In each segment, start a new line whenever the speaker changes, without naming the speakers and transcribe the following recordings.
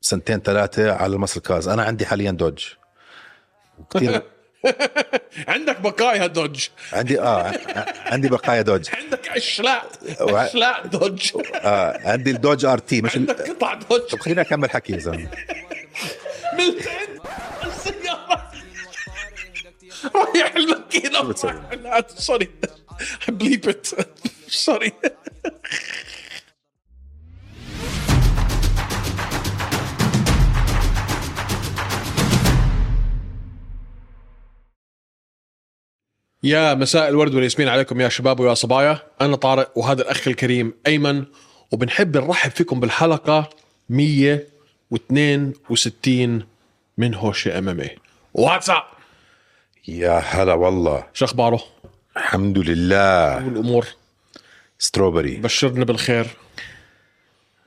سنتين ثلاثه على المسل كارز انا عندي حاليا دوج كثير
عندك بقايا دوج
عندي اه عندي بقايا دوج
عندك اشلاء
وع-
اشلاء دوج
اه عندي الدوج ار تي مش ال...
عندك قطع دوج
طب خليني اكمل حكي يا زلمه
من عند السيارة رايح الماكينة
شو بتسوي؟
لا سوري بليب ات سوري يا مساء الورد والياسمين عليكم يا شباب ويا صبايا أنا طارق وهذا الأخ الكريم أيمن وبنحب نرحب فيكم بالحلقة 162 من هوشي إيه. ام ام اي واتساب
يا هلا والله
شو اخباره؟
الحمد لله
والامور
ستروبري
بشرنا بالخير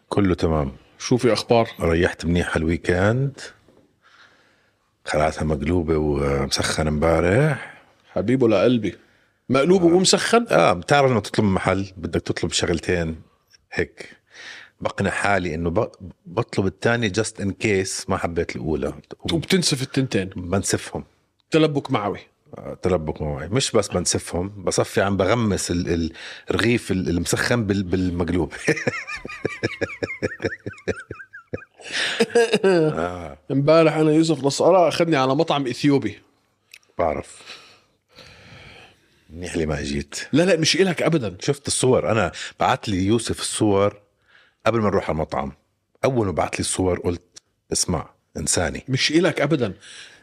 كله تمام
شو في اخبار؟
ريحت منيح هالويكند خلعتها مقلوبه ومسخن امبارح
حبيبه لقلبي مقلوب ومسخن
اه بتعرف لما تطلب من محل بدك تطلب شغلتين هيك بقنع حالي انه ب... بطلب الثانيه جاست ان كيس ما حبيت الاولى
وبتنسف التنتين
بنسفهم
تلبك معوي
تلبك معي مش بس بنسفهم بصفي عم بغمس ال- ال- الرغيف ال- المسخن بال- بالمقلوب آه
امبارح انا يوسف نصارى اخذني على مطعم اثيوبي
بعرف منيح لي ما اجيت
لا لا مش إلك ابدا
شفت الصور انا بعت لي يوسف الصور قبل ما نروح على المطعم اول ما بعت لي الصور قلت اسمع انساني
مش إلك ابدا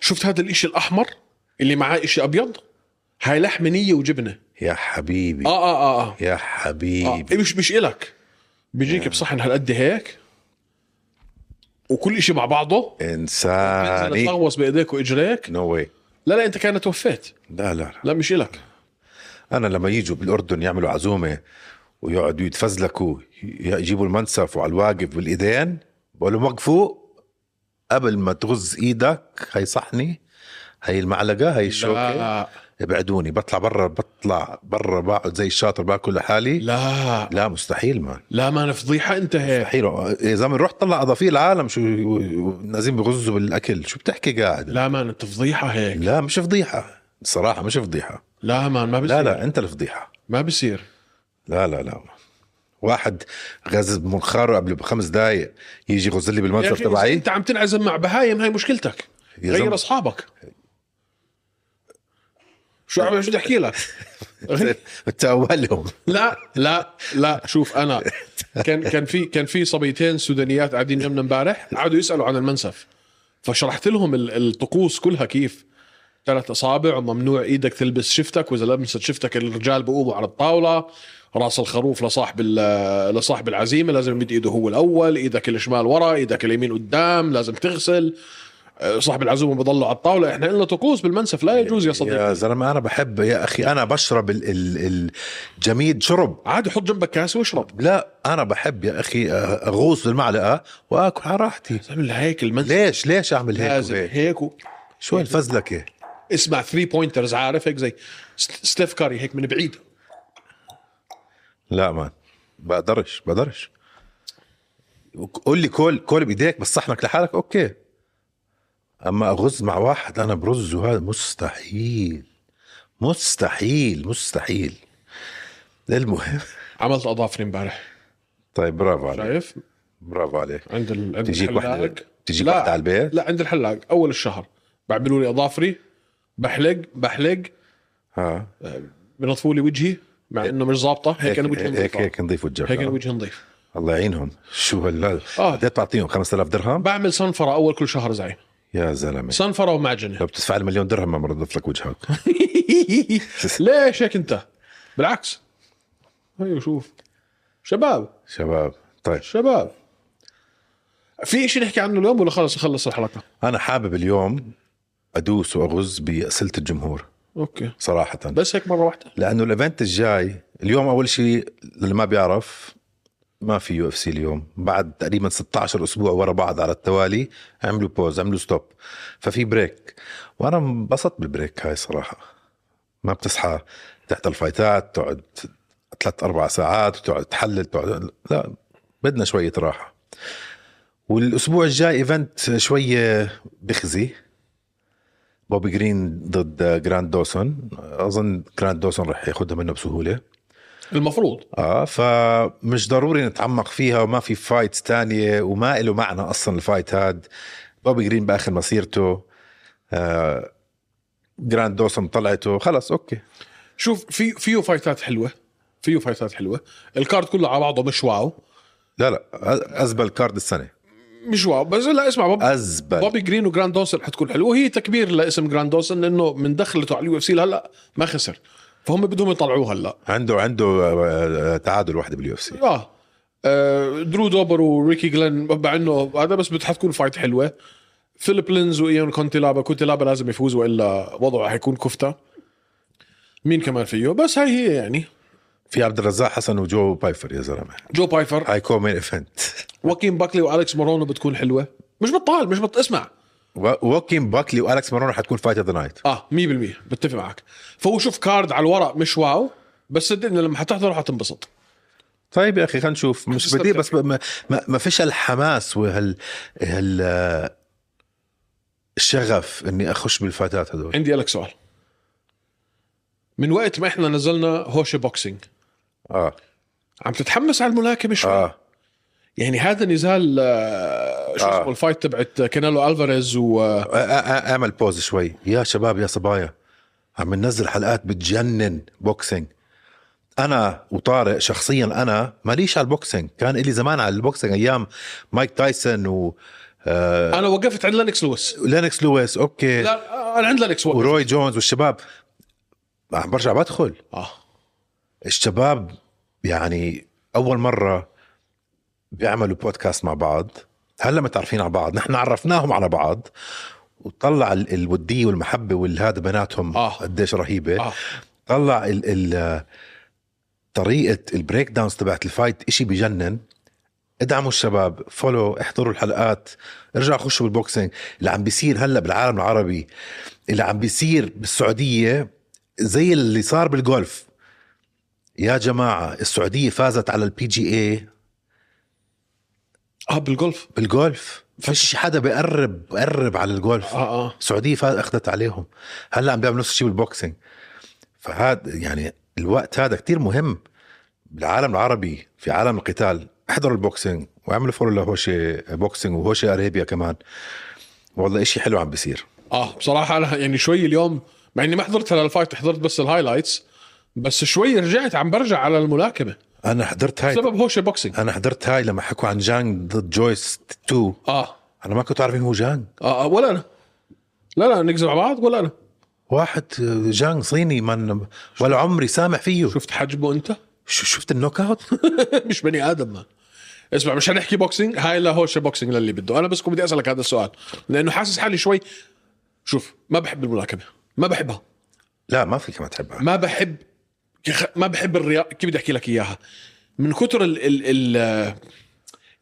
شفت هذا الاشي الاحمر اللي معاه اشي ابيض هاي لحمه نيه وجبنه
يا حبيبي
اه اه اه, آه.
يا
آه.
حبيبي
مش مش إلك بيجيك بصحن هالقد هيك وكل شيء مع بعضه
آه،
بتنزل
انساني
تغوص بايديك واجريك
نو واي
لا لا انت كانت وفيت
لا لا لا
لا مش إلك
انا لما يجوا بالاردن يعملوا عزومه ويقعدوا يتفزلكوا يجيبوا المنسف وعلى الواقف بالايدين بقول لهم وقفوا قبل ما تغز ايدك هي صحني هي المعلقه هي الشوكه
لا
ابعدوني بطلع برا بطلع برا بقعد زي الشاطر باكل لحالي لا,
لا إيه.
لا مستحيل مان
لا ما انا فضيحه انت هيك
مستحيل يا زلمه روح طلع اضافيه العالم شو نازلين بغزوا بالاكل شو بتحكي قاعد
لا ما انت فضيحه هيك
لا مش فضيحه صراحه مش فضيحه
لا ما ما بصير
لا لا انت الفضيحه
ما بصير
لا لا لا واحد غاز منخاره قبل بخمس دقايق يجي يغز لي
يا
بالمنصب
اخي إذا
تبعي
انت عم تنعزم مع بهايم هاي مشكلتك
يا
غير
زلمة.
اصحابك شو عم شو بدي احكي لك
انت اولهم
لا لا لا شوف انا كان كان في كان في صبيتين سودانيات قاعدين جنبنا امبارح قعدوا يسالوا عن المنسف فشرحت لهم ال- الطقوس كلها كيف ثلاث اصابع وممنوع ايدك تلبس شفتك واذا لبست شفتك الرجال بقوموا على الطاوله راس الخروف لصاحب ال- لصاحب العزيمه لازم يمد ايده هو الاول ايدك الشمال ورا ايدك اليمين قدام لازم تغسل أه، صاحب العزومه بضلوا على الطاوله احنا لنا طقوس بالمنسف لا يجوز يا صديقي
يا زلمه انا بحب يا اخي انا بشرب ال- ال- الجميد شرب
عادي حط جنبك كاسه واشرب
لا انا بحب يا اخي اغوص بالمعلقه واكل على راحتي
تعمل هيك المنسف
ليش ليش اعمل هيك
لازم
وهيك
هيك و...
شو هالفزلكه
اسمع ثري بوينترز عارف هيك زي ست- ستيف كاري هيك من بعيد
لا مان بقدرش بقدرش قول لي كل كل بايديك بس صحنك لحالك اوكي اما اغز مع واحد انا برز وهذا مستحيل مستحيل مستحيل المهم
عملت اظافري امبارح
طيب برافو عليك
شايف
برافو عليك
عند ال... عند
تجيك
الحلاق.
وحده تجيك
لا.
وحده على البيت
لا عند الحلاق اول الشهر بعملوا لي اظافري بحلق بحلق
ها
بنظفوا لي وجهي مع انه مش ظابطه هيك انا وجهي نظيف
هيك هيك نضيفوا الجرح
هيك انا وجهي نظيف
الله يعينهم شو هال
آه.
بدك تعطيهم 5000 درهم
بعمل صنفره اول كل شهر زعيم
يا زلمه
صنفره ومعجنه
لو بتدفع لي مليون درهم ما بنضف لك وجهك
ليش هيك انت بالعكس هيو شوف شباب
شباب طيب
شباب في شيء نحكي عنه اليوم ولا خلص نخلص الحلقه
انا حابب اليوم ادوس واغز باسئله الجمهور
اوكي
صراحه
بس هيك مره واحده
لانه الايفنت الجاي اليوم اول شيء اللي ما بيعرف ما في يو اف سي اليوم بعد تقريبا 16 اسبوع ورا بعض على التوالي عملوا بوز عملوا ستوب ففي بريك وانا انبسطت بالبريك هاي صراحه ما بتصحى تحت الفايتات تقعد ثلاث اربع ساعات وتقعد تحلل تقعد لا بدنا شويه راحه والاسبوع الجاي ايفنت شويه بخزي بوبي جرين ضد جراند دوسون اظن جراند دوسون رح ياخذها منه بسهوله
المفروض
اه فمش ضروري نتعمق فيها وما في فايتس تانية وما له معنى اصلا الفايت هاد بوبي جرين باخر مسيرته آه جراند دوسون طلعته خلص اوكي
شوف في فيه فايتات حلوه فيه فايتات حلوه الكارد كله على بعضه مش واو
لا لا ازبل كارد السنه
مش واو بس لا اسمع بوب
ازبل
بوبي جرين وجراند دوسن حتكون حلوه وهي تكبير لاسم جراند دوسن لانه من دخلته على اليو اف سي لهلا ما خسر فهم بدهم يطلعوه هلا
عنده عنده آه، آه، تعادل واحده باليو اف سي
اه آه، درو دوبر وريكي جلن مع انه هذا بس بت- حتكون فايت حلوه فيليب لينز وايان كونتي لابا كونتي لابا لازم يفوز والا وضعه حيكون كفته مين كمان فيه بس هاي هي يعني
في عبد الرزاق حسن وجو بايفر يا زلمه
جو بايفر
هاي كومين ايفنت
واكين باكلي والكس مورونو بتكون حلوه مش بطال مش بط اسمع
ووكين باكلي والكس مارون حتكون فايت اوف ذا نايت
اه 100% بتفق معك فهو شوف كارد على الورق مش واو بس صدقني لما حتحضره حتنبسط
طيب يا اخي خلينا نشوف مش
حتستمتع
بدي بس ما, ما, ما فيش هالحماس وهال هال آه، الشغف اني اخش بالفايتات هدول
عندي لك سؤال من وقت ما احنا نزلنا هوشي بوكسينج
اه
عم تتحمس على الملاكمه شوي آه.
اه
يعني هذا نزال آه، شو
آه.
اسمه آه. الفايت تبعت كانيلو الفاريز و آه،
آ- آ- آ- اعمل بوز شوي يا شباب يا صبايا عم ننزل حلقات بتجنن بوكسينج انا وطارق شخصيا انا ماليش على البوكسينج كان الي زمان على البوكسينج ايام مايك تايسون و
انا وقفت عند لينكس لويس
لينكس لويس اوكي
لا آه، انا عند لينكس وقفت
وروي جونز والشباب عم برجع بدخل
اه
الشباب يعني اول مره بيعملوا بودكاست مع بعض هلا متعرفين على بعض نحن عرفناهم على بعض وطلع ال- الوديه والمحبه والهذا بيناتهم
آه.
قديش رهيبه
اه
طلع ال ال طريقه البريك داونز تبعت الفايت إشي بجنن ادعموا الشباب فولو احضروا الحلقات ارجعوا خشوا بالبوكسينج اللي عم بيصير هلا بالعالم العربي اللي عم بيصير بالسعوديه زي اللي صار بالجولف يا جماعه السعوديه فازت على البي جي اي
اه بالجولف
بالجولف فيش حدا بقرب بقرب على الجولف
اه اه
السعوديه فاز اخذت عليهم هلا عم بيعملوا نفس الشيء بالبوكسينج فهذا يعني الوقت هذا كتير مهم بالعالم العربي في عالم القتال احضروا البوكسينج واعملوا فولو لهوشي بوكسينج وهوشي اريبيا كمان والله إشي حلو عم بيصير
اه بصراحه انا يعني شوي اليوم مع اني ما حضرت هلا الفايت حضرت بس الهايلايتس بس شوي رجعت عم برجع على الملاكمه
انا حضرت هاي
بسبب هوشي بوكسينج
انا حضرت هاي لما حكوا عن جانج ضد جويس 2
اه
انا ما كنت عارف مين هو جانج
اه آه، ولا انا لا لا نكذب على بعض ولا انا
واحد جانج صيني من ولا عمري سامع فيه
شفت حجمه انت
شو- شفت النوك اوت
مش بني ادم ما. اسمع مش هنحكي بوكسينج هاي لا هوشه بوكسينج للي بده انا بس كنت بدي اسالك هذا السؤال لانه حاسس حالي شوي شوف ما بحب الملاكمه ما بحبها
لا ما فيك ما تحبها
ما بحب كخ- ما بحب الرياضه كيف بدي احكي لك اياها من كثر ال ال ال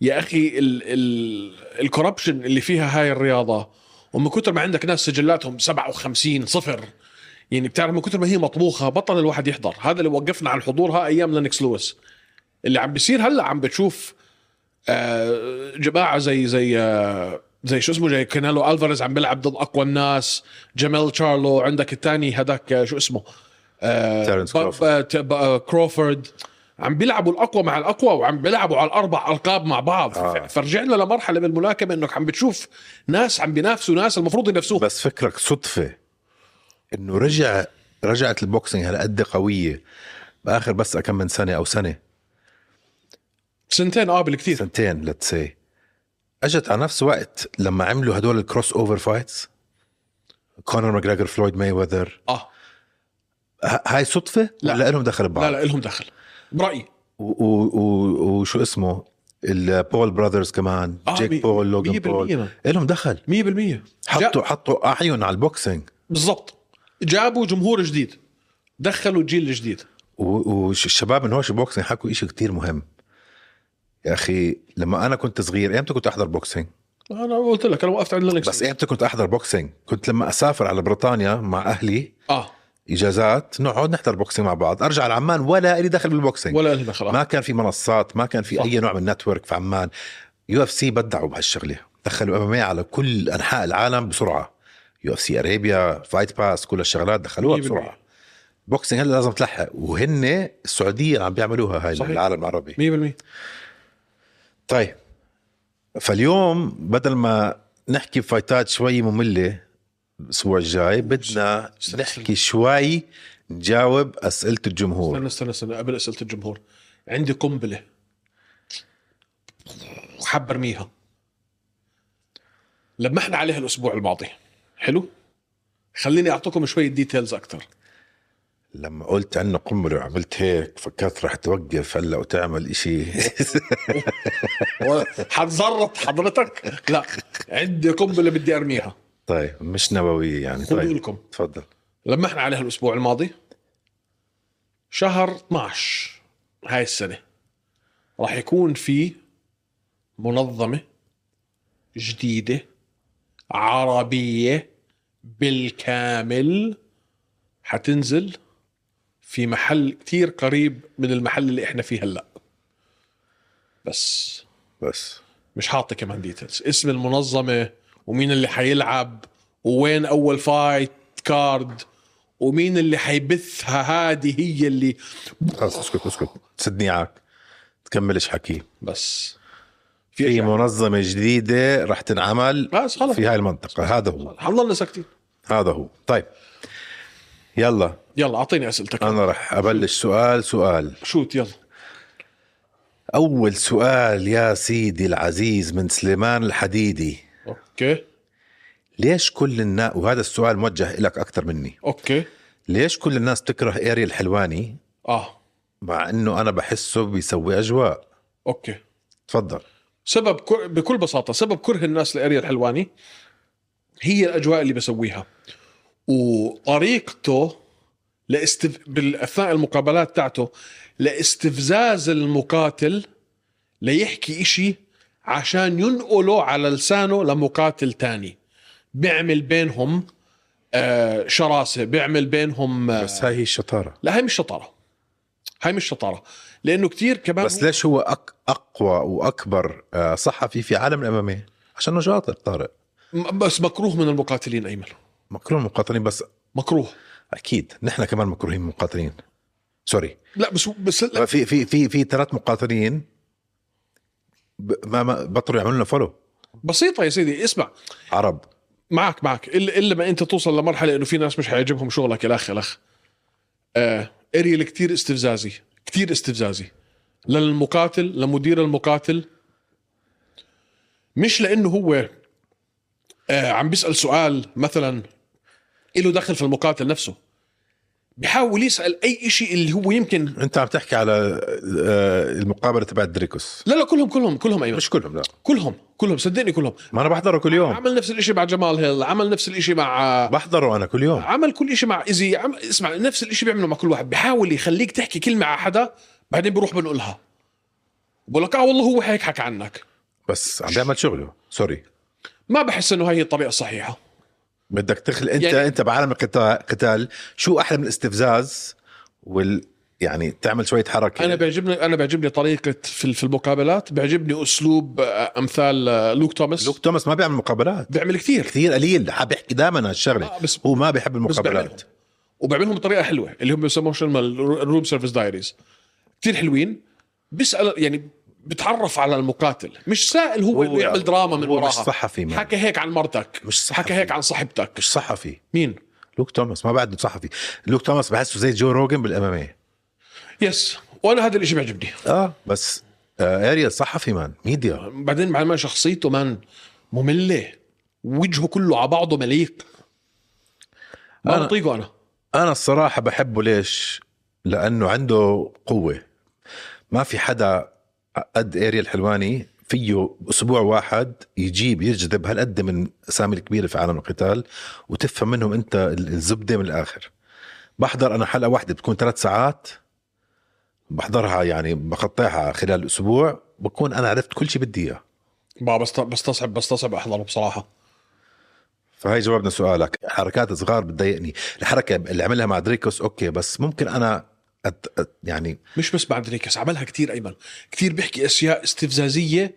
يا اخي ال ال الكوربشن اللي فيها هاي الرياضه ومن كثر ما عندك ناس سجلاتهم 57 صفر يعني بتعرف من كثر ما هي مطبوخه بطل الواحد يحضر هذا اللي وقفنا عن حضورها ايام لينكس لويس اللي عم بيصير هلا عم بتشوف آه، جماعه زي زي آه، زي شو اسمه زي كانالو الفاريز عم بيلعب ضد اقوى الناس جمال تشارلو عندك الثاني هذاك آه، شو اسمه آه،
تيرنس
ب-
كروفورد.
ب- ت- ب- آه، كروفورد عم بيلعبوا الاقوى مع الاقوى وعم بيلعبوا على الاربع القاب مع بعض
آه.
آه. فرجعنا لمرحله بالملاكمه انك عم بتشوف ناس عم بينافسوا ناس المفروض ينافسوهم
بس فكرك صدفه انه رجع رجعت البوكسينج هالقد قويه باخر بس كم من سنه او سنه
سنتين اه بالكثير
سنتين ليتس سي اجت على نفس وقت لما عملوا هدول الكروس اوفر فايتس كونر ماجريجر فلويد ماي وذر
اه
هاي صدفه
لا.
ولا لهم دخل
لا
ببعض
لا الهم دخل برايي
و- و- و- وشو اسمه البول براذرز كمان
آه،
جيك
مي-
بول لوجان
100%
بول لهم دخل
100%
حطوا حطوا اعين على البوكسينج
بالضبط جابوا جمهور جديد دخلوا جيل جديد
و- والشباب من هوش البوكسينج حكوا إشي كتير مهم يا اخي لما انا كنت صغير امتى كنت احضر بوكسينج
انا قلت لك انا وقفت عند لينكس
بس إيه؟ امتى كنت احضر بوكسينج كنت لما اسافر على بريطانيا مع اهلي
اه
اجازات نقعد نحضر بوكسينج مع بعض ارجع على عمان ولا لي دخل بالبوكسينج
ولا لي دخل آه.
ما كان في منصات ما كان في
صح.
اي نوع من النتورك في عمان يو اف سي بدعوا بهالشغله دخلوا ام على كل انحاء العالم بسرعه يو اف سي ارابيا فايت باس كل الشغلات دخلوها
100%
بسرعه بوكسينج هلا لازم تلحق وهن السعوديه عم بيعملوها هاي
صحيح.
العالم العربي
100%
طيب فاليوم بدل ما نحكي فايتات شوي مملة الأسبوع الجاي بدنا
استنى،
نحكي شوي نجاوب أسئلة الجمهور
استنى استنى استنى قبل اسئله الجمهور عندي قنبله وحاب ارميها لمحنا عليها الاسبوع الماضي حلو خليني اعطيكم شويه ديتيلز اكثر
لما قلت عنه قنبلة وعملت هيك فكرت رح توقف هلا وتعمل إشي
حتزرط حضرتك لا عندي قنبله بدي ارميها
طيب مش نووية يعني
خذوا
طيب
لكم
تفضل
لمحنا عليها الاسبوع الماضي شهر 12 هاي السنه راح يكون في منظمه جديده عربيه بالكامل حتنزل في محل كتير قريب من المحل اللي احنا فيه هلا بس
بس
مش حاطه كمان ديتيلز اسم المنظمه ومين اللي حيلعب ووين اول فايت كارد ومين اللي حيبثها هذه هي اللي
خلص اسكت اسكت سدني عاك تكملش حكي
بس
في
إشي.
منظمة جديدة رح تنعمل
بس خلص
في هاي المنطقة هذا هو
حنضلنا ساكتين
هذا هو طيب يلا
يلا اعطيني اسئلتك
انا رح ابلش سؤال سؤال
شوت يلا
اول سؤال يا سيدي العزيز من سليمان الحديدي
اوكي
ليش كل الناس وهذا السؤال موجه لك اكثر مني
اوكي
ليش كل الناس بتكره اريل الحلواني
اه
مع انه انا بحسه بيسوي اجواء
اوكي
تفضل
سبب كر... بكل بساطه سبب كره الناس لاريال الحلواني هي الاجواء اللي بسويها وطريقته لاستف... باثناء المقابلات تاعته لاستفزاز المقاتل ليحكي إشي عشان ينقله على لسانه لمقاتل تاني بيعمل بينهم آه شراسه بيعمل بينهم آه...
بس هاي هي الشطاره
لا هاي مش شطاره هاي مش شطاره لانه كتير كمان
بس ليش هو أك اقوى واكبر آه، صحفي في عالم الاماميه عشانه شاطر طارق
م- بس مكروه من المقاتلين ايمن
مكروه مقاتلين بس
مكروه
اكيد نحن كمان مكروهين مقاتلين سوري
لا بس بس لا
في في في في ثلاث مقاتلين ب- ما ما بطلوا يعملوا لنا فولو
بسيطه يا سيدي اسمع
عرب
معك معك الا الا ما انت توصل لمرحله انه في ناس مش حيعجبهم شغلك الاخ الاخ آه اريل كتير استفزازي كتير استفزازي للمقاتل لمدير المقاتل مش لانه هو آه عم بيسال سؤال مثلا له دخل في المقاتل نفسه بحاول يسال اي شيء اللي هو يمكن
انت عم تحكي على آه، المقابله تبعت دريكوس
لا لا كلهم كلهم كلهم ايمن
مش كلهم لا
كلهم كلهم صدقني كلهم
ما انا بحضره كل يوم
عمل نفس الاشي مع جمال هيل عمل نفس الاشي مع
بحضره انا كل يوم
عمل كل اشي مع ايزي عم... اسمع نفس الاشي بيعمله مع كل واحد بحاول يخليك تحكي كلمه على حدا بعدين بروح بنقولها بقول لك اه والله هو هيك حكى عنك
بس عم بيعمل شغله سوري
ما بحس انه هاي هي الطريقه الصحيحه
بدك تخلق انت
يعني-
يعني انت بعالم القتال قتال شو احلى من الاستفزاز وال يعني تعمل شويه حركه
انا بيعجبني انا بيعجبني طريقه في في المقابلات بيعجبني اسلوب آه، امثال آه، لوك توماس
لوك توماس ما بيعمل مقابلات
بيعمل كثير
كثير قليل حاب يحكي دائما هالشغله
آه، بس-
هو ما بيحب
بس
المقابلات
بيعملهم. وبعملهم بطريقه حلوه اللي هم بيسموهم شو الروم سيرفيس دايريز كثير حلوين بيسال يعني بتعرف على المقاتل مش سائل هو, اللي يعمل دراما من
يعني هو مش
وراها
صحفي مان.
حكى هيك عن مرتك
مش صحفي.
حكى هيك عن صاحبتك
مش صحفي
مين
لوك توماس ما بعده صحفي لوك توماس بحسه زي جو روجن إيه. بالاماميه
يس وانا هذا الاشي بيعجبني
اه بس آه اريال صحفي مان ميديا
بعدين مع ما شخصيته مان ممله وجهه كله على بعضه مليق ما
أنا-
بطيقه انا
انا الصراحه بحبه ليش لانه عنده قوه ما في حدا قد اريال حلواني فيه اسبوع واحد يجيب يجذب هالقد من اسامي الكبيره في عالم القتال وتفهم منهم انت الزبده من الاخر بحضر انا حلقه واحده بتكون ثلاث ساعات بحضرها يعني بقطعها خلال اسبوع بكون انا عرفت كل شيء بدي اياه
ما بست- بستصعب بستصعب احضره بصراحه
فهي جاوبنا سؤالك حركات صغار بتضايقني الحركه اللي عملها مع دريكوس اوكي بس ممكن انا أت... أت... يعني
مش بس بعد ريكس عملها كتير ايمن كتير بيحكي اشياء استفزازيه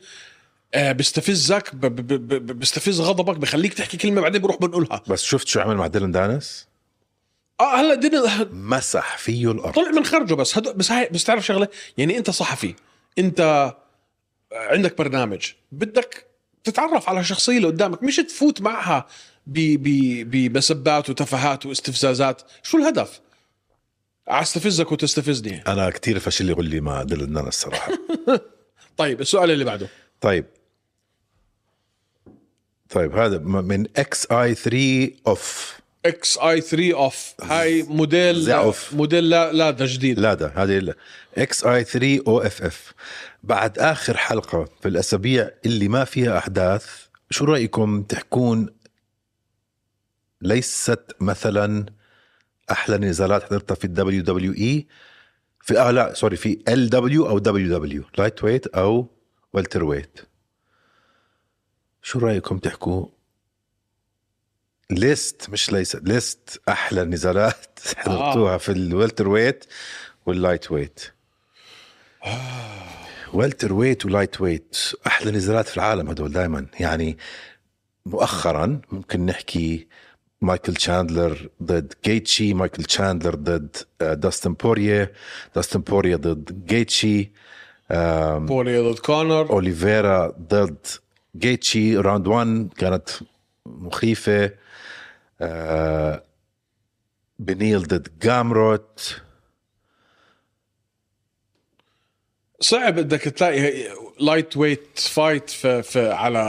آه، بيستفزك ب- ب- ب- ب- بيستفز غضبك بخليك تحكي كلمه بعدين بروح بنقولها
بس شفت شو عمل مع ديلان دانس
اه هلا دينا
مسح فيه الارض
طلع من خرجه بس هدو بس هاي بس تعرف شغله يعني انت صحفي انت عندك برنامج بدك تتعرف على الشخصيه اللي قدامك مش تفوت معها ب- ب- بمسبات وتفاهات واستفزازات شو الهدف استفزك وتستفزني
انا كتير فشل لي غلي مع ديلان دانس صراحه
طيب السؤال اللي بعده
طيب طيب هذا م- من اكس اي 3 اوف
اكس اي 3 اوف هاي موديل
زعف.
موديل لا لا ده جديد
لا ده هذه اكس اي 3 او اف اف بعد اخر حلقه في الاسابيع اللي ما فيها احداث شو رايكم تحكون ليست مثلا احلى نزالات حضرتها في الدبليو دبليو اي في اه لا سوري في ال دبليو او دبليو دبليو لايت ويت او والتر ويت شو رايكم تحكوا ليست مش ليس ليست احلى نزالات حضرتوها في الويلتر ويت واللايت ويت والتر ويت ولايت ويت احلى نزالات في العالم هدول دائما يعني مؤخرا ممكن نحكي مايكل تشاندلر ضد جيتشي مايكل تشاندلر ضد آه، داستن بوريه داستن بوريه ضد جيتشي
بولي ضد كونر
اوليفيرا ضد جيتشي راوند 1 كانت مخيفه آه بنيل ضد جامروت
صعب بدك تلاقي لايت ويت فايت في, في على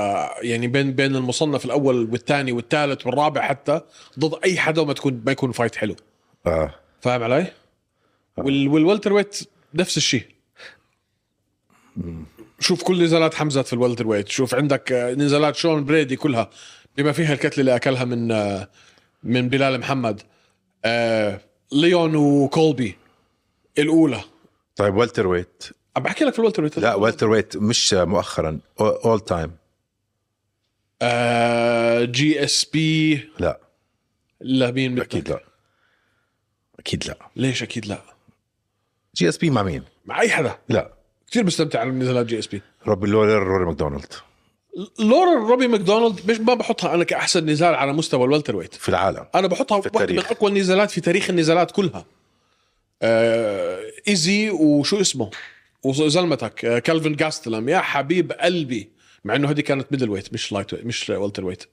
يعني بين بين المصنف الاول والثاني والثالث والرابع حتى ضد اي حدا وما تكون ما يكون فايت حلو
آه
فاهم علي؟ وال والوالتر ويت نفس الشيء شوف كل نزالات حمزه في الوالتر ويت شوف عندك آه، نزالات شون بريدي كلها بما فيها الكتله اللي اكلها من آه، من بلال محمد آه، ليون وكولبي الاولى
طيب والتر ويت
عم بحكي لك في الوالتر ويت
لا والتر ويت مش مؤخرا اول تايم
جي اس بي
لا
لمين
اكيد
بدك
لا اكيد لا
ليش اكيد لا
جي اس بي مع مين؟
مع اي حدا
لا
كثير بستمتع على نزالات جي اس بي
روبي لولر روري ماكدونالد
لورا روبي ماكدونالد مش ما بحطها انا كاحسن نزال على مستوى الوالتر ويت
في العالم
انا بحطها
في
واحدة من
التاريخ.
اقوى النزالات في تاريخ النزالات كلها آه ايزي وشو اسمه وزلمتك آه كالفن جاستلم يا حبيب قلبي مع انه هذه كانت ميدل ويت مش لايت ويت مش والتر ويت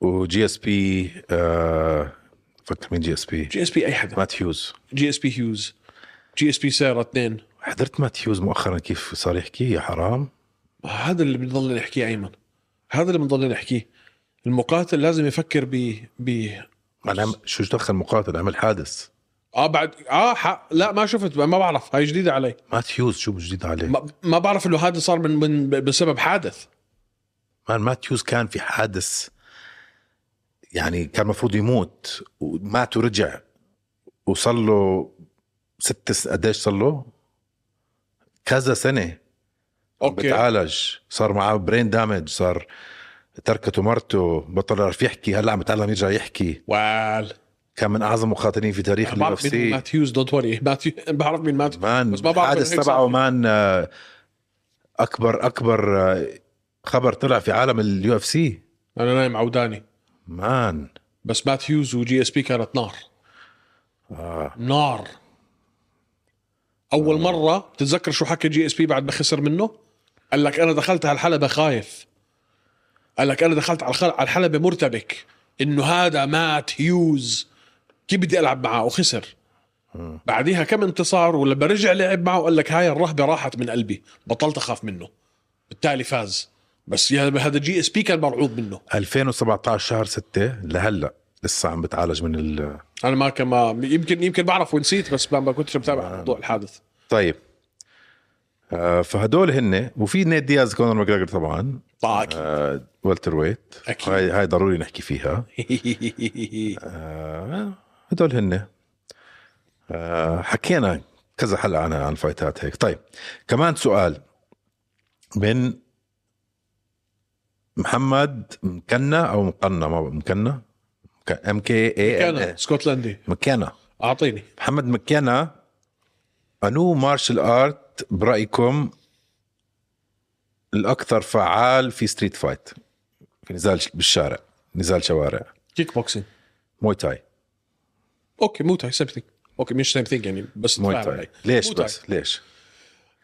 وجي اس بي آه، فكر مين جي اس بي
جي اس بي اي حدا
مات هيوز
جي اس بي هيوز جي اس بي سيرة اثنين
حضرت مات هيوز مؤخرا كيف صار يحكي يا حرام
هذا اللي بنضل نحكيه ايمن هذا اللي بنضل نحكيه المقاتل لازم يفكر ب ب
انا شو دخل مقاتل عمل حادث
اه بعد اه حق لا ما شفت ما بعرف هاي جديده علي
مات هيوز شو جديد عليه
ما, ما بعرف انه هذا صار من, من بسبب حادث
مان مات هيوز كان في حادث يعني كان المفروض يموت ومات ورجع وصار له ست س- قديش صار له؟ كذا سنه
اوكي
بتعالج صار معاه برين دامج صار تركته مرته بطل يعرف يحكي هلا عم يتعلم يرجع يحكي
وال
كان من اعظم مقاتلين في تاريخ
أنا
اليو اف
بعرف مين
سي
ماثيوز دونت وري ماثيوز بعرف مين ماثيوز
مان
بس ما بعرف
الحادث
إنه هيك
تبعه
صار.
مان آه، اكبر اكبر آه، خبر طلع في عالم اليو اف سي
انا نايم عوداني
مان
بس ماثيوز وجي اس بي كانت نار آه. نار اول مره بتتذكر شو حكى جي اس بي بعد ما خسر منه قال لك انا دخلت على الحلبه خايف قال لك انا دخلت على الخل- على الحلبه مرتبك انه هذا مات هيوز كيف بدي العب معه وخسر بعديها كم انتصار ولما رجع لعب معه قال لك هاي الرهبه راحت من قلبي بطلت اخاف منه بالتالي فاز بس يا- هذا جي اس بي كان مرعوب منه
2017 شهر 6 لهلا لسه عم بتعالج من ال
انا ما كما يمكن يمكن بعرف ونسيت بس ما- ما كنتش
آه.
متابع موضوع الحادث
طيب آه فهدول هن وفي نيت دياز كونر ماجريجر طبعا
طاك
آه طيب. والتر ويت
أكيد.
هاي هاي ضروري نحكي فيها آه هدول هن آه حكينا كذا حلقه عنها عن فايتات هيك طيب كمان سؤال من محمد مكنا او مقنا ما بعرف، مكنا ام كي اي
كان سكوتلندي
مكنا
اعطيني
محمد مكينا انو مارشال ارت برايكم الاكثر فعال في ستريت فايت في نزال ش- بالشارع نزال شوارع
كيك بوكسينج
موي تاي
اوكي مو تاي سيم ثينج اوكي مش سيم ثينج يعني بس
موي
تفاعل
تاي
علي.
ليش
موي تاي.
بس ليش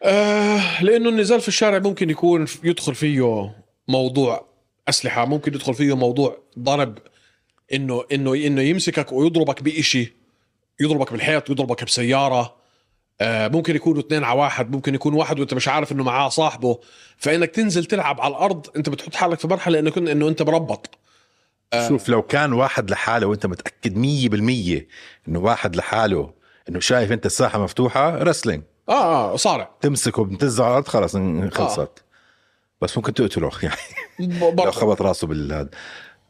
آه لانه النزال في الشارع ممكن يكون يدخل فيه موضوع اسلحه ممكن يدخل فيه موضوع ضرب انه انه انه يمسكك ويضربك بإشي يضربك بالحيط يضربك بسياره آه ممكن يكونوا اثنين على واحد ممكن يكون واحد وانت مش عارف انه معاه صاحبه فانك تنزل تلعب على الارض انت بتحط حالك في مرحله انه كن انه انت مربط
شوف لو كان واحد لحاله وانت متاكد 100% انه واحد لحاله انه شايف انت الساحه مفتوحه رسلينج
اه اه صارع
تمسكه بتنزع على الارض خلص ان- خلصت آه. بس ممكن تقتله يعني
ب-
لو
برضه.
خبط راسه بالهاد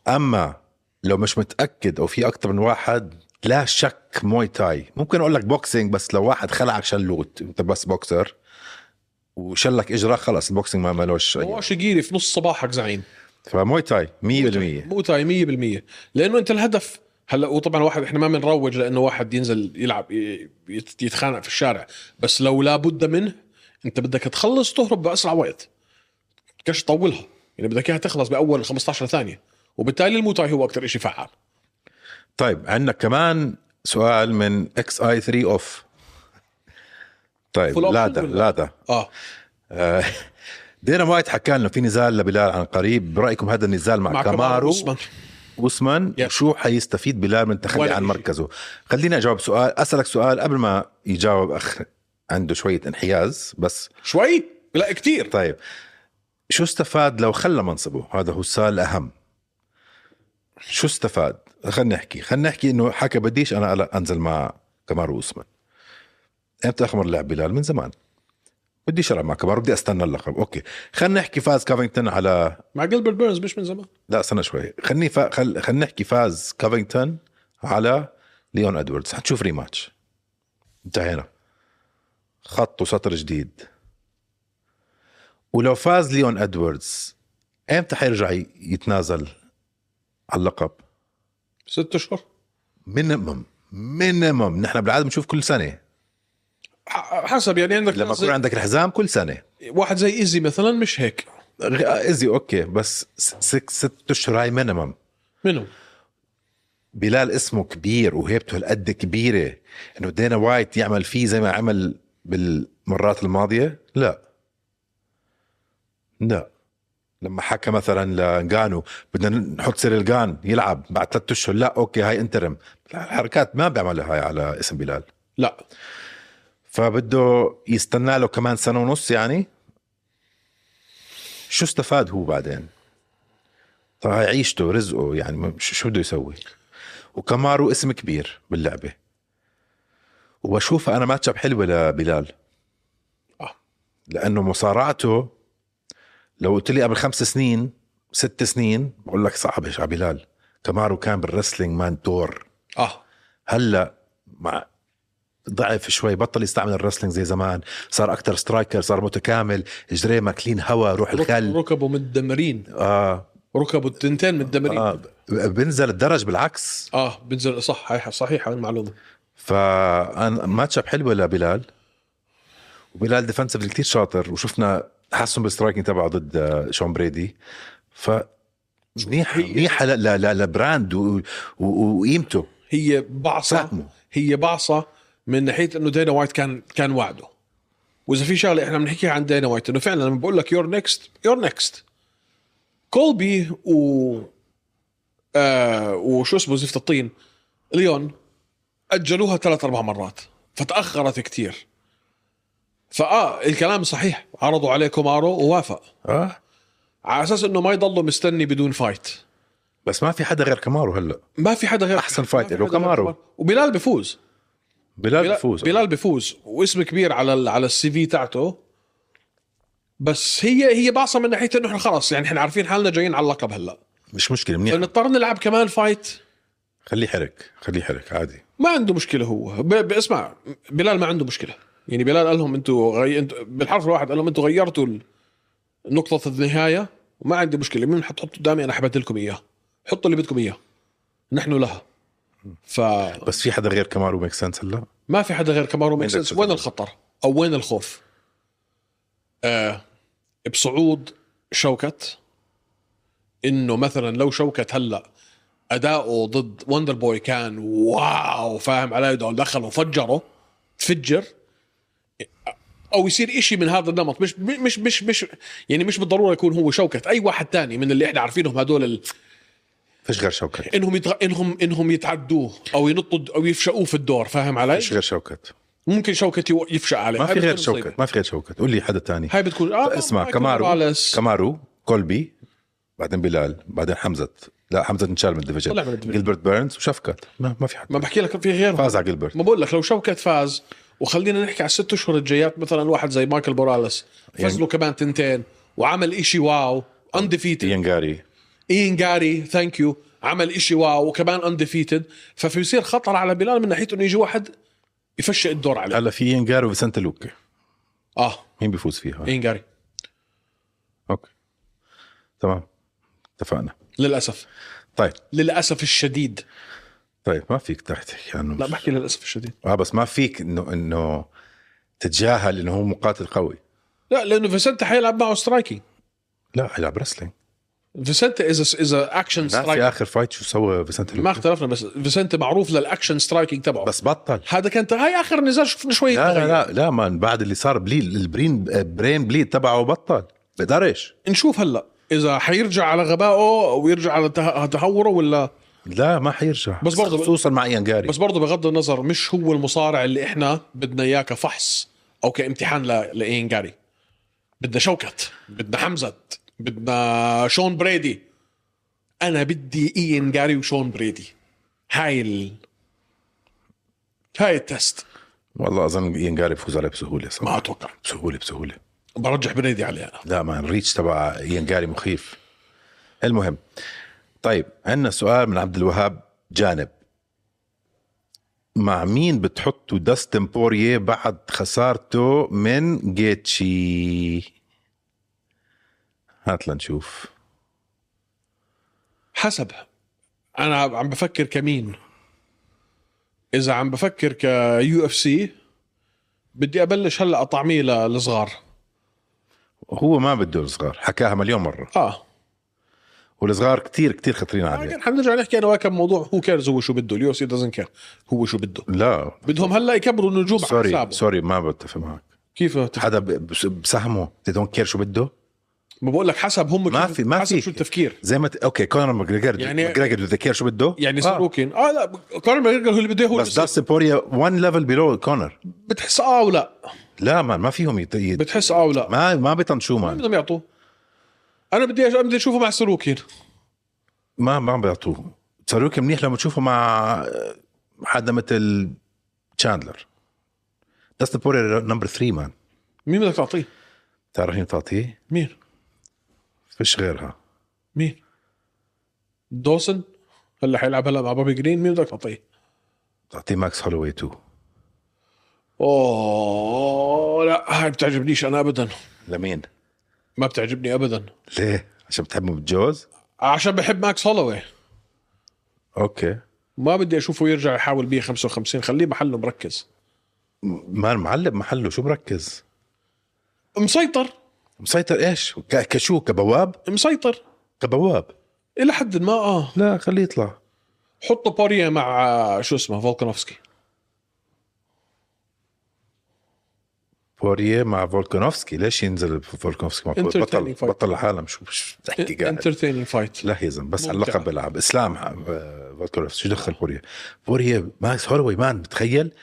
اما لو مش متاكد او في اكثر من واحد لا شك موي تاي ممكن اقول لك بوكسينج بس لو واحد خلعك شلوت انت بس بوكسر وشلك اجرك خلص البوكسينج ما مالوش أي-
هو شقيري في نص صباحك زعيم
فموي تاي 100%
موتاي 100% لانه انت الهدف هلا وطبعا واحد احنا ما بنروج لانه واحد ينزل يلعب ي- يت- يتخانق في الشارع بس لو لابد منه انت بدك تخلص تهرب باسرع وقت بدكش تطولها يعني بدك اياها تخلص باول 15 ثانيه وبالتالي الموتاي هو اكثر شيء فعال
طيب عندنا كمان سؤال من اكس اي 3 اوف طيب
Full option
لادا
ولا؟
لادا
اه
آه، دينا وايت حكى لنا في نزال لبلال عن قريب برايكم هذا النزال مع,
مع كمارو
كامارو
عثمان
وسمان
Yes.
وشو حيستفيد بلال من التخلي
ولا
عن
شيء.
مركزه خليني اجاوب سؤال اسالك سؤال قبل ما يجاوب اخ عنده شويه انحياز بس
شوي لا كثير
طيب شو استفاد لو خلى منصبه هذا هو السؤال الاهم شو استفاد خلينا نحكي خلينا نحكي انه حكى بديش انا ألا- انزل مع كمارو اوسمان امتى اخمر لعب بلال من زمان بديش العب مع كمارو بدي استنى اللقب اوكي خلينا نحكي فاز كافينغتون على
مع جيلبرت بيرنز مش من زمان
لا استنى شوي خلني فا... خل... خلينا نحكي فاز كافينغتون على ليون ادواردز حتشوف ريماتش انتهينا خط وسطر جديد ولو فاز ليون ادواردز امتى حيرجع ي- يتنازل على اللقب؟
ست اشهر
مينيمم مينيمم نحن بالعاده بنشوف كل سنه
ح- حسب يعني عندك
لما
ناس
يكون
زي-
عندك الحزام كل سنه
واحد زي ايزي مثلا مش هيك
غ- ازي اوكي بس س- ست ست اشهر هاي مينيمم
منهم
بلال اسمه كبير وهيبته هالقد كبيرة انه دينا وايت يعمل فيه زي ما عمل بالمرات الماضية لا لا لما حكى مثلا لانجانو بدنا نحط سيريل جان يلعب بعد ثلاث اشهر لا اوكي هاي انترم لا، الحركات ما بيعملها هاي على اسم بلال
لا
فبده يستنى له كمان سنة ونص يعني شو استفاد هو بعدين طيب هاي عيشته رزقه يعني ما- شو شو بده يسوي وكمارو اسم كبير باللعبة وبشوفها أنا ماتشب حلوة لبلال
آه.
لأنه مصارعته لو قلت لي قبل خمس سنين ست سنين بقول لك صعبة على بلال كمارو كان بالرسلينج مان دور
اه
هلا مع ضعف شوي بطل يستعمل الرسلينج زي زمان صار اكثر سترايكر صار متكامل جريه ماكلين هوا روح الخل
ركبه متدمرين
آه,
ركبوا التنتين متدمرين
آه
اه,
بنزل الدرج بالعكس
آه بنزل صح هاي صحيحه المعلومه
فانا ماتشاب حلوه لبلال وبلال ديفنسيف كثير شاطر وشفنا تحسن بالسترايكنج تبعه ضد آه، شون بريدي ف منيحه منيحه ل- ل- ل- لبراند و- و- وقيمته
هي بعصه
ساهمه
هي بعصه من ناحيه انه دينا وايت كان كان وعده واذا في شغله احنا بنحكيها عن دينا وايت انه فعلا لما بقول لك يور نيكست يور نيكست كولبي و آه وشو اسمه زفت الطين ليون اجلوها ثلاث اربع مرات فتاخرت كتير فاه الكلام صحيح عرضوا عليه كومارو ووافق
اه
على اساس انه ما يضلوا مستني بدون فايت
بس ما في حدا غير كمارو هلا
ما في حدا غير
أحسن فايت
ما في
إله
حدا غير
كامارو.
وبلال بفوز
بلال
بلال
بفوز
بلال بفوز واسم كبير على ال- على السي في تاعته بس هي هي باصه من ناحيه انه احنا خلاص يعني احنا عارفين حالنا جايين على اللقب هلا
مش مشكله منيح
فنضطر نلعب كمان فايت
خليه حرك خليه حرك عادي
ما عنده مشكله هو ب... ب... اسمع بلال ما عنده مشكله يعني بلال قال لهم انتوا غي... انتوا بالحرف الواحد قال لهم انتوا غيرتوا ال- نقطه النهايه وما عندي مشكله مين حتحطوا قدامي انا حبدل لكم اياه حطوا اللي بدكم اياه نحن لها ف
بس في حدا غير كمارو ميك سنس هلا
ما في حدا غير كامارو ميك
عندك
سنس
شو
وين
تقول.
الخطر او وين الخوف آه بصعود شوكت انه مثلا لو شوكت هلا اداؤه ضد وندر بوي كان واو فاهم علي ده دخل وفجره تفجر او يصير إشي من هذا النمط مش مش مش مش يعني مش بالضروره يكون هو شوكت اي واحد تاني من اللي احنا عارفينهم هدول ال...
فيش غير شوكت
انهم يتغ... انهم انهم يتعدوه او ينطوا او يفشقوه في الدور فاهم علي؟
فيش غير شوكت
ممكن شوكت يو- يفشق عليه
ما
هاي
في غير
بتكون مصيبة.
شوكت ما في غير شوكت قول لي حدا تاني
هاي بتكون آه
اسمع
ما-
كامارو.
موراليس.
كامارو كولبي بعدين بلال بعدين حمزه لا حمزه انشال من الديفيجن
طلع من الديفيجن.
جilbert بيرنز وشفكت ما, ما في حدا
ما بحكي لك في غيرهم
فاز على جيلبرت
ما بقول لك لو شوكت فاز وخلينا نحكي على الست اشهر الجايات مثلا واحد زي مايكل بوراليس فاز
يعني-
له كمان تنتين وعمل إشي واو انديفيتد
ينجاري
اين جاري ثانك يو عمل إشي واو وكمان انديفيتد فبيصير خطر على بلال من ناحيه انه يجي واحد يفشق الدور عليه
هلا في ينجاري وفيسنت لوكي
اه
مين بيفوز فيها؟
اين جاري
اوكي تمام اتفقنا
للاسف
طيب
للاسف الشديد
طيب ما فيك تحتك يعني
لا بحكي للاسف الشديد
اه بس ما فيك انه انه تتجاهل انه هو مقاتل قوي
لا لانه فيسنت حيلعب معه سترايكينج
لا حيلعب رسلينج
فيسنت از از اكشن
ناسي
سترايك
اخر فايت شو سوى فيسنت
ما
لوكي
اختلفنا بس فيسنت معروف للاكشن سترايكينج تبعه
بس بطل
هذا كان هاي اخر نزال شفنا شويه
لا لا
تغيير.
لا لا مان بعد اللي صار بليل البرين برين بليد تبعه بطل بقدرش
نشوف هلا اذا حيرجع على غبائه او يرجع على ته- تهوره ولا
لا ما حيرجع
بس برضه-
خصوصا مع ايان جاري
بس برضه بغض النظر مش هو المصارع اللي احنا بدنا اياه كفحص او كامتحان ل... لاين جاري بدنا شوكت بدنا حمزه بدنا شون بريدي انا بدي اين جاري وشون بريدي هاي ال... هاي التست
والله اظن ايان جاري بفوز عليه بسهوله
ما
صراحه
اتوقع
بسهوله بسهوله
برجح بريدي عليها
لا ما الريتش تبع ايان جاري مخيف المهم طيب عندنا سؤال من عبد الوهاب جانب مع مين بتحطوا داستن بوريه بعد خسارته من جيتشي هات لنشوف
حسب انا عم بفكر كمين اذا عم بفكر كيو اف سي بدي ابلش هلا اطعميه للصغار
هو ما بده الصغار حكاها مليون مره
اه
والصغار كتير كتير خطرين عليه
لكن حنرجع نحكي انا وياك موضوع هو كيرز هو شو بده اليو اف سي دزنت كير هو شو بده
لا
بدهم هلا يكبروا النجوم على
سوري
حسابه
سوري ما بتفق معك
كيف تف-
حدا ب- بس- بسهمه they don't care شو بده
ما بقول لك حسب هم
ما
كيف-
في- ما
حسب
في.
شو التفكير
زي ما ت... اوكي كونر ماجريجر
يعني-
يعني ماجريجر بده كير شو بده
يعني
آه.
ساروكين اه لا كونر ماجريجر هو اللي بده هو اللي
بس داستن بوريا 1 ليفل بيلو كونر
بصير. بتحس اه ولا
لا ما ما فيهم يت... يت...
بتحس اه ولا
ما ما بيطنشوه ما
بدهم يعطوه انا بدي أش- بدي اشوفه مع ساروكين
ما ما بيعطوه صاروك منيح لما تشوفه مع آه، حدا مثل تشاندلر داستن بوريا نمبر 3 مان
مين بدك تعطيه؟
تعرف مين تعطيه؟
مين؟
فيش غيرها
مين؟ دوسن هلا حيلعب هلا مع بابي جرين مين بدك تعطيه؟
تعطيه ماكس هولوي 2
اوه لا هاي بتعجبنيش انا ابدا
لمين؟
ما بتعجبني ابدا
ليه؟ عشان بتحبه بالجوز؟
عشان بحب ماكس هولوي
اوكي
ما بدي اشوفه يرجع يحاول بيه 55 خليه محله مركز
مان معلم محله شو مركز؟
مسيطر
مسيطر ايش؟ ك- كشو كبواب؟
مسيطر
كبواب
الى حد ما اه
لا خليه يطلع
حطوا بوريا مع آه، شو اسمه فولكانوفسكي
بوريه مع فولكانوفسكي ليش ينزل فولكانوفسكي مع
Entertaining
بطل
fight.
بطل العالم شو شو بتحكي قاعد
انترتيننج فايت
لا يزن بس على
ممتع.
اللقب بيلعب اسلام آه، فولكانوفسكي شو دخل بوريه بوريه ماكس هولوي مان بتخيل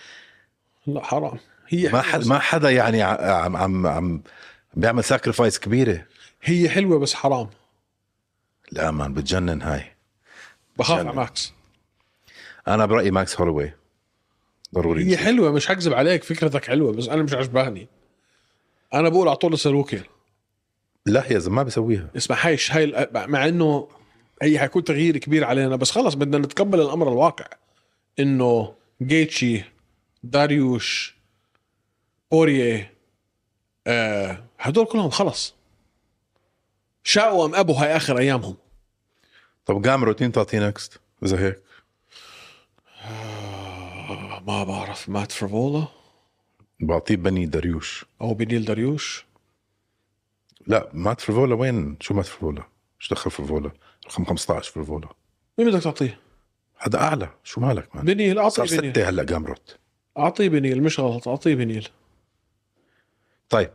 لا حرام هي
ما
حلوة بس-
حد ما حدا يعني ع- عم عم عم بيعمل ساكرفايس كبيره
هي حلوه بس حرام
لا مان بتجنن هاي
بخاف
جنن.
على ماكس
انا برايي ماكس هولوي ضروري
هي حلوه مش حكذب عليك فكرتك حلوه بس انا مش عجباني انا بقول اعطوه لساروكي
لا يا زلمه ما بيسويها
اسمع هاي الش- هاي ال- مع انه هي حيكون تغيير كبير علينا بس خلص بدنا نتقبل الامر الواقع انه جيتشي داريوش اوريه آه هدول كلهم خلص شاءوا ام ابوا هاي اخر ايامهم
طب قام روتين تعطيه نكست اذا هيك
آه ما بعرف مات فرفولا
بعطيه بني دريوش
او بنيل داريوش
لا مات فرفولا وين شو مات فرفولا شو دخل فرفولا رقم 15 فرفولا
مين بدك تعطيه؟
هذا اعلى شو مالك مان
بنيل اعطيه
صار
بنيل
ستة هلا جامروت
اعطيه بنيل مش غلط اعطيه بنيل
طيب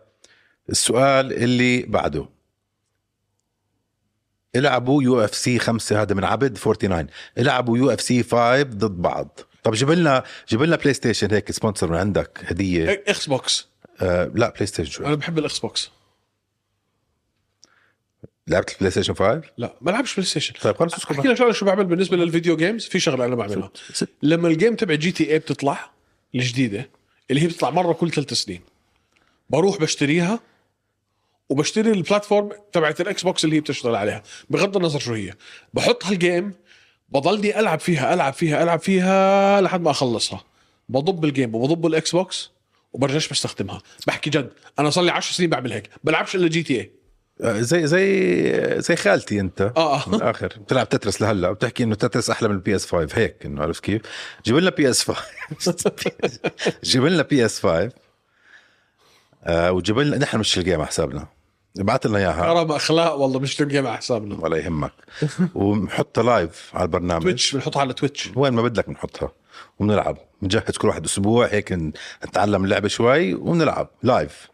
السؤال اللي بعده العبوا يو اف سي 5 هذا من عبد 49 العبوا يو اف سي 5 ضد بعض طب جيب لنا جيب لنا بلاي ستيشن هيك سبونسر من عندك هديه
اكس بوكس
آه لا بلاي ستيشن شوي
انا بحب الاكس بوكس
لعبت البلاي ستيشن 5
لا ما بلعبش بلاي ستيشن
طيب خلص
احكي
اسكت
لك شغله شو بعمل بالنسبه للفيديو جيمز في شغله انا بعملها لما الجيم تبع جي تي اي بتطلع الجديده اللي هي بتطلع مره كل ثلاث سنين بروح بشتريها وبشتري البلاتفورم تبعت الاكس بوكس اللي هي بتشتغل عليها بغض النظر شو هي بحط هالجيم بضلني العب فيها العب فيها العب فيها لحد ما اخلصها بضب الجيم وبضب الاكس بوكس وبرجعش بستخدمها بحكي جد انا صار لي 10 سنين بعمل هيك بلعبش الا جي تي اي
آه، زي زي زي خالتي انت
اه آه.
من الاخر بتلعب تترس لهلا وبتحكي انه تترس احلى من البي اس 5 هيك انه عرفت كيف؟ جيب لنا بي اس 5 جيب لنا بي اس 5 آه وجيب لنا نحن مش الجيم على حسابنا ابعث لنا اياها
كرم اخلاق والله مش تلقى مع حسابنا
ولا يهمك ونحطها لايف على البرنامج
تويتش بنحطها على تويتش
وين ما بدك بنحطها وبنلعب بنجهز كل واحد اسبوع هيك ن- نتعلم اللعبه شوي وبنلعب لايف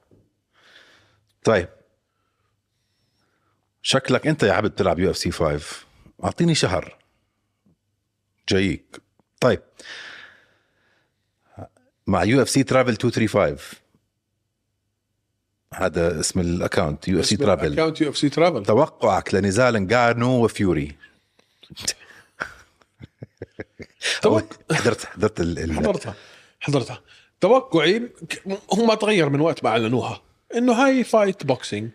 طيب شكلك انت يا عبد بتلعب يو اف سي 5 اعطيني شهر جايك طيب مع يو اف سي ترافل 235 هذا اسم الاكونت يو اف سي ترافل
اكونت يو اف سي ترافل
توقعك لنزال انغانو وفيوري
توقع-
أول- حضرت حضرت ال- ال-
حضرتها حضرتها توقعي ك- هو ما تغير من وقت ما اعلنوها انه هاي فايت بوكسينج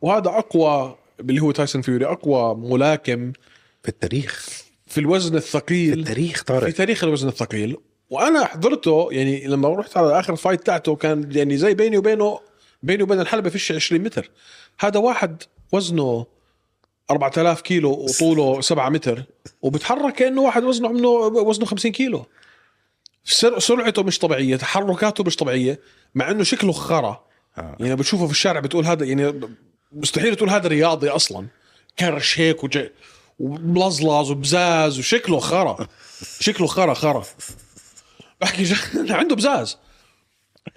وهذا اقوى اللي هو تايسون فيوري اقوى ملاكم
في التاريخ
في الوزن الثقيل
التاريخ
في
طارق
تاريخ الوزن الثقيل وانا حضرته يعني لما رحت على اخر فايت تاعته كان يعني زي بيني وبينه بيني وبين الحلبه فيش 20 متر هذا واحد وزنه 4000 كيلو وطوله 7 متر وبتحرك كانه واحد وزنه عمره وزنه 50 كيلو سر- سرعته مش طبيعيه تحركاته مش طبيعيه مع انه شكله خرا
آه.
يعني بتشوفه في الشارع بتقول هذا يعني مستحيل تقول هذا رياضي اصلا كرش هيك وجاي وملزلز وبزاز وشكله خرا شكله خرا خرا بحكي جد، عنده بزاز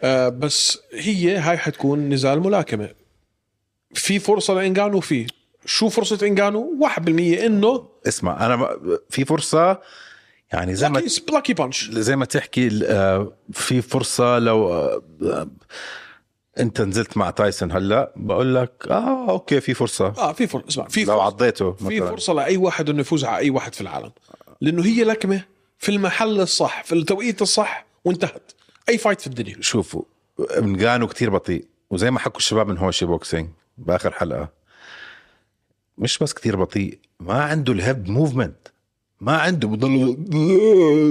آه بس هي هاي حتكون نزال ملاكمه في فرصه لانجانو فيه شو فرصه انجانو 1% انه
اسمع انا ما- في فرصه يعني زي ما
بلاكي بانش
زي ما تحكي ال- آه، في فرصه لو آه، آه، انت نزلت مع تايسون هلا بقول لك اه اوكي في فرصه
اه في فرصه اسمع في
لو
فرصة.
عضيته
في
مثلا
فرصه لاي واحد انه يفوز على اي واحد في العالم لانه هي لكمه في المحل الصح في التوقيت الصح وانتهت اي فايت في الدنيا
شوفوا انغانو كتير بطيء وزي ما حكوا الشباب من هوشي بوكسينج باخر حلقه مش بس كتير بطيء ما عنده الهيد موفمنت ما عنده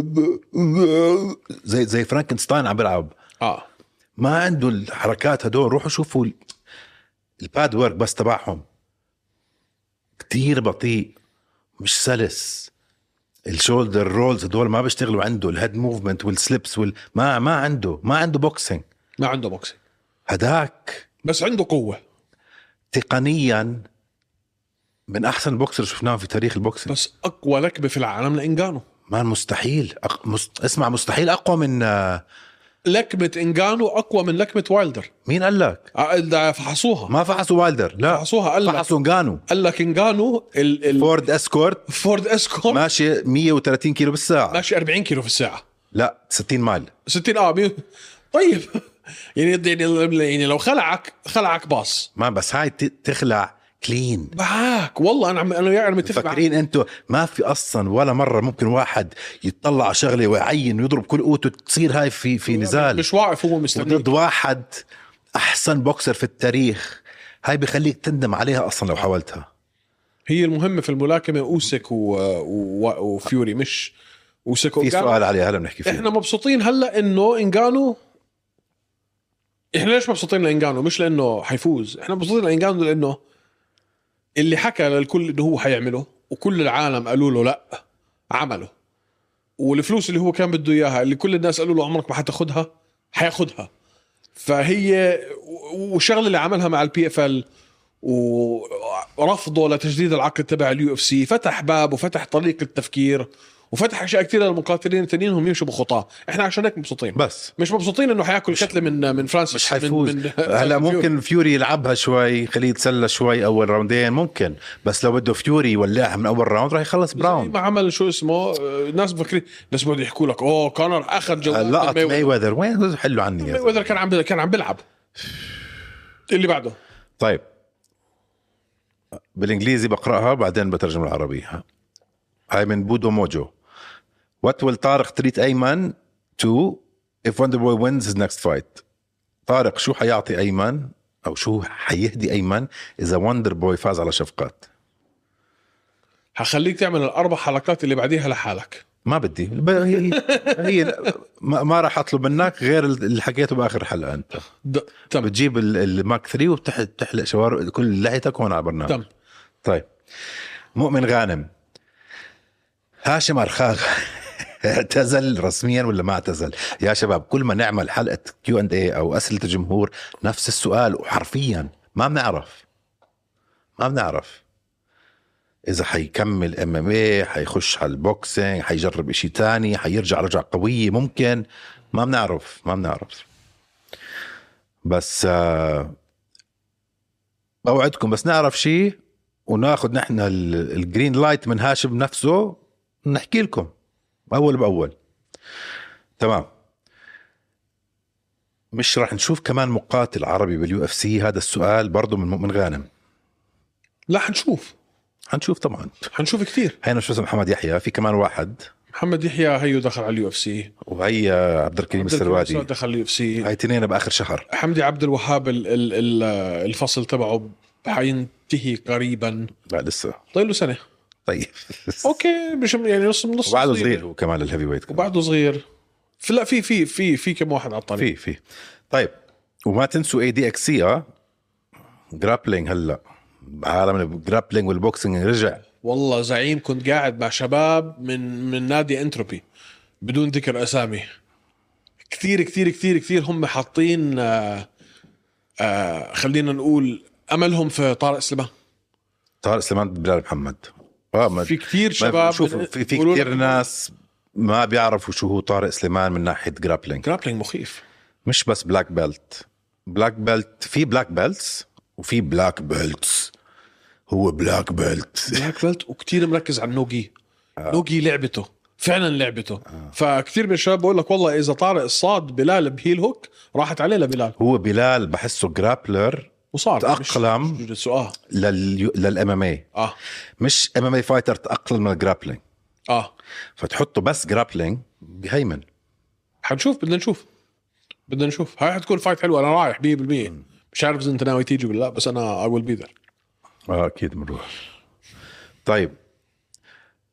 بضل زي زي فرانكنستاين عم بيلعب
اه
ما عنده الحركات هدول روحوا شوفوا ال- الباد ورك بس تبعهم كتير بطيء مش سلس الشولدر رولز هدول ما بيشتغلوا عنده الهيد موفمنت والسليبس وال... ما ما عنده ما عنده بوكسينج
ما عنده بوكسينج
هداك
بس عنده قوه
تقنيا من احسن البوكسر شفناه في تاريخ البوكسينج
بس اقوى لكمه في العالم لانجانو
ما مستحيل أق... مست... اسمع مستحيل اقوى من آه،
لكمه انجانو اقوى من لكمه وايلدر
مين قال لك
آه، ده فحصوها
ما فحصوا وايلدر لا
فحصوها قال لك
فحصوا انجانو
قال لك انجانو ال- ال-
فورد اسكورت
فورد اسكورت
ماشي 130 كيلو بالساعه
ماشي 40 كيلو في الساعه
لا 60 مايل
60 اه مية- طيب يعني يعني يعني لو خلعك خلعك باص
ما بس هاي ت- تخلع كلين
معاك والله انا عم انا يعني متفق معاك
مفكرين انتم ما في اصلا ولا مره ممكن واحد يتطلع على شغله ويعين ويضرب كل قوته تصير هاي في في نزال
مش واقف هو مستنيك
ضد واحد احسن بوكسر في التاريخ هاي بخليك تندم عليها اصلا لو حاولتها
هي المهمه في الملاكمه اوسك و... و... وفيوري مش اوسك
في
وإنغانو.
سؤال عليها هلا بنحكي فيه
احنا مبسوطين هلا انه انجانو احنا ليش مبسوطين لانجانو مش لانه حيفوز احنا مبسوطين لانجانو لانه اللي حكى للكل انه هو حيعمله وكل العالم قالوا له لا عمله والفلوس اللي هو كان بده اياها اللي كل الناس قالوا له عمرك ما حتاخدها حياخدها فهي و- والشغله اللي عملها مع البي اف ال ورفضه لتجديد العقد تبع اليو اف سي فتح باب وفتح طريق للتفكير وفتح اشياء كثير للمقاتلين التانيين هم يمشوا بخطاه احنا عشان هيك مبسوطين
بس
مش مبسوطين انه حياكل كتله من من فرانسيس
مش
من-
حيفوز
من-
هلا ممكن فيوري يلعبها شوي خليه يتسلى شوي اول راوندين ممكن بس لو بده فيوري يولعها من اول راوند راح يخلص
براون
براون
ما عمل شو اسمه آه، الناس مفكرين بس بده يحكوا لك اوه كونر اخذ جوال من
لقط
مايويذر.
ماي وذر وين حلو عني يا زلمة.
مايويذر كان عم كان عم بيلعب اللي بعده
طيب بالانجليزي بقراها بعدين بترجم العربية هاي من بودو موجو What will طارق treat ايمن to if Wonderboy wins his next fight طارق شو حيعطي ايمن او شو حيهدي ايمن اذا وندر بوي فاز على شفقات
هخليك تعمل الاربع حلقات اللي بعديها لحالك
ما بدي ب- هي هي هي- ما ما راح اطلب منك غير اللي حكيته باخر حلقه انت
د... تم
بتجيب ال- الماك 3 وبتحلق شوارع كل لحيتك هون على البرنامج
تم
طيب مؤمن غانم هاشم ارخاغ اعتزل رسميا ولا ما اعتزل يا شباب كل ما نعمل حلقه كيو اند اي او اسئله الجمهور نفس السؤال وحرفيا ما بنعرف ما بنعرف اذا حيكمل ام ام اي حيخش على البوكسينج حيجرب شيء تاني حيرجع رجعه قويه ممكن ما بنعرف ما بنعرف بس آه، بوعدكم بس نعرف شيء وناخذ نحن ال- الجرين لايت من هاشم نفسه نحكي لكم اول باول تمام مش راح نشوف كمان مقاتل عربي باليو اف سي هذا السؤال برضه من مؤمن غانم
لا حنشوف
حنشوف طبعا
حنشوف كثير
هينا شو اسمه محمد يحيى في كمان واحد
محمد يحيى هيو دخل على اليو اف سي
وهي عبد الكريم السروادي
دخل اليو اف سي
هاي تنين باخر شهر
حمدي عبد الوهاب ال... ال... ال... الفصل تبعه حينتهي قريبا
لا لسه
طيب له سنه
طيب
اوكي مش يعني نص نص
وبعده صغير هو كمان الهيفي ويت كمان.
وبعده صغير في- لا في في في في كم واحد على الطريق
في في طيب وما تنسوا اي دي اكس سي اه جرابلينج هلا عالم الجرابلينج والبوكسينج رجع
والله زعيم كنت قاعد مع شباب من من نادي انتروبي بدون ذكر اسامي كثير كثير كثير كثير هم حاطين آه، آه، خلينا نقول املهم في طارق سليمان
طارق سليمان بلال محمد اه ما
في كثير
ما
شباب
شوف في, في
بيقولوا لك
كثير ناس ما بيعرفوا شو هو طارق سليمان من ناحيه جرابلينج
جرابلينج مخيف
مش بس بلاك بيلت بلاك بيلت في بلاك بيلتس وفي بلاك بيلتس هو بلاك بيلت
بلاك بيلت وكثير مركز على النوجي
آه.
نوجي لعبته فعلا لعبته فكثير من الشباب بقول لك والله اذا طارق صاد بلال بهيل هوك راحت عليه لبلال
هو بلال بحسه جرابلر
وصار
تأقلم.
مش- مش جد سؤال
للام ام اي
اه
مش ام ام اي فايتر تاقلم من الجرابلينج
اه
فتحطه بس جرابلينج بهيمن
حنشوف بدنا نشوف بدنا نشوف هاي حتكون فايت حلوه انا رايح 100% مش عارف اذا انت ناوي تيجي ولا لا بس انا اي ويل بي ذير
اه اكيد بنروح طيب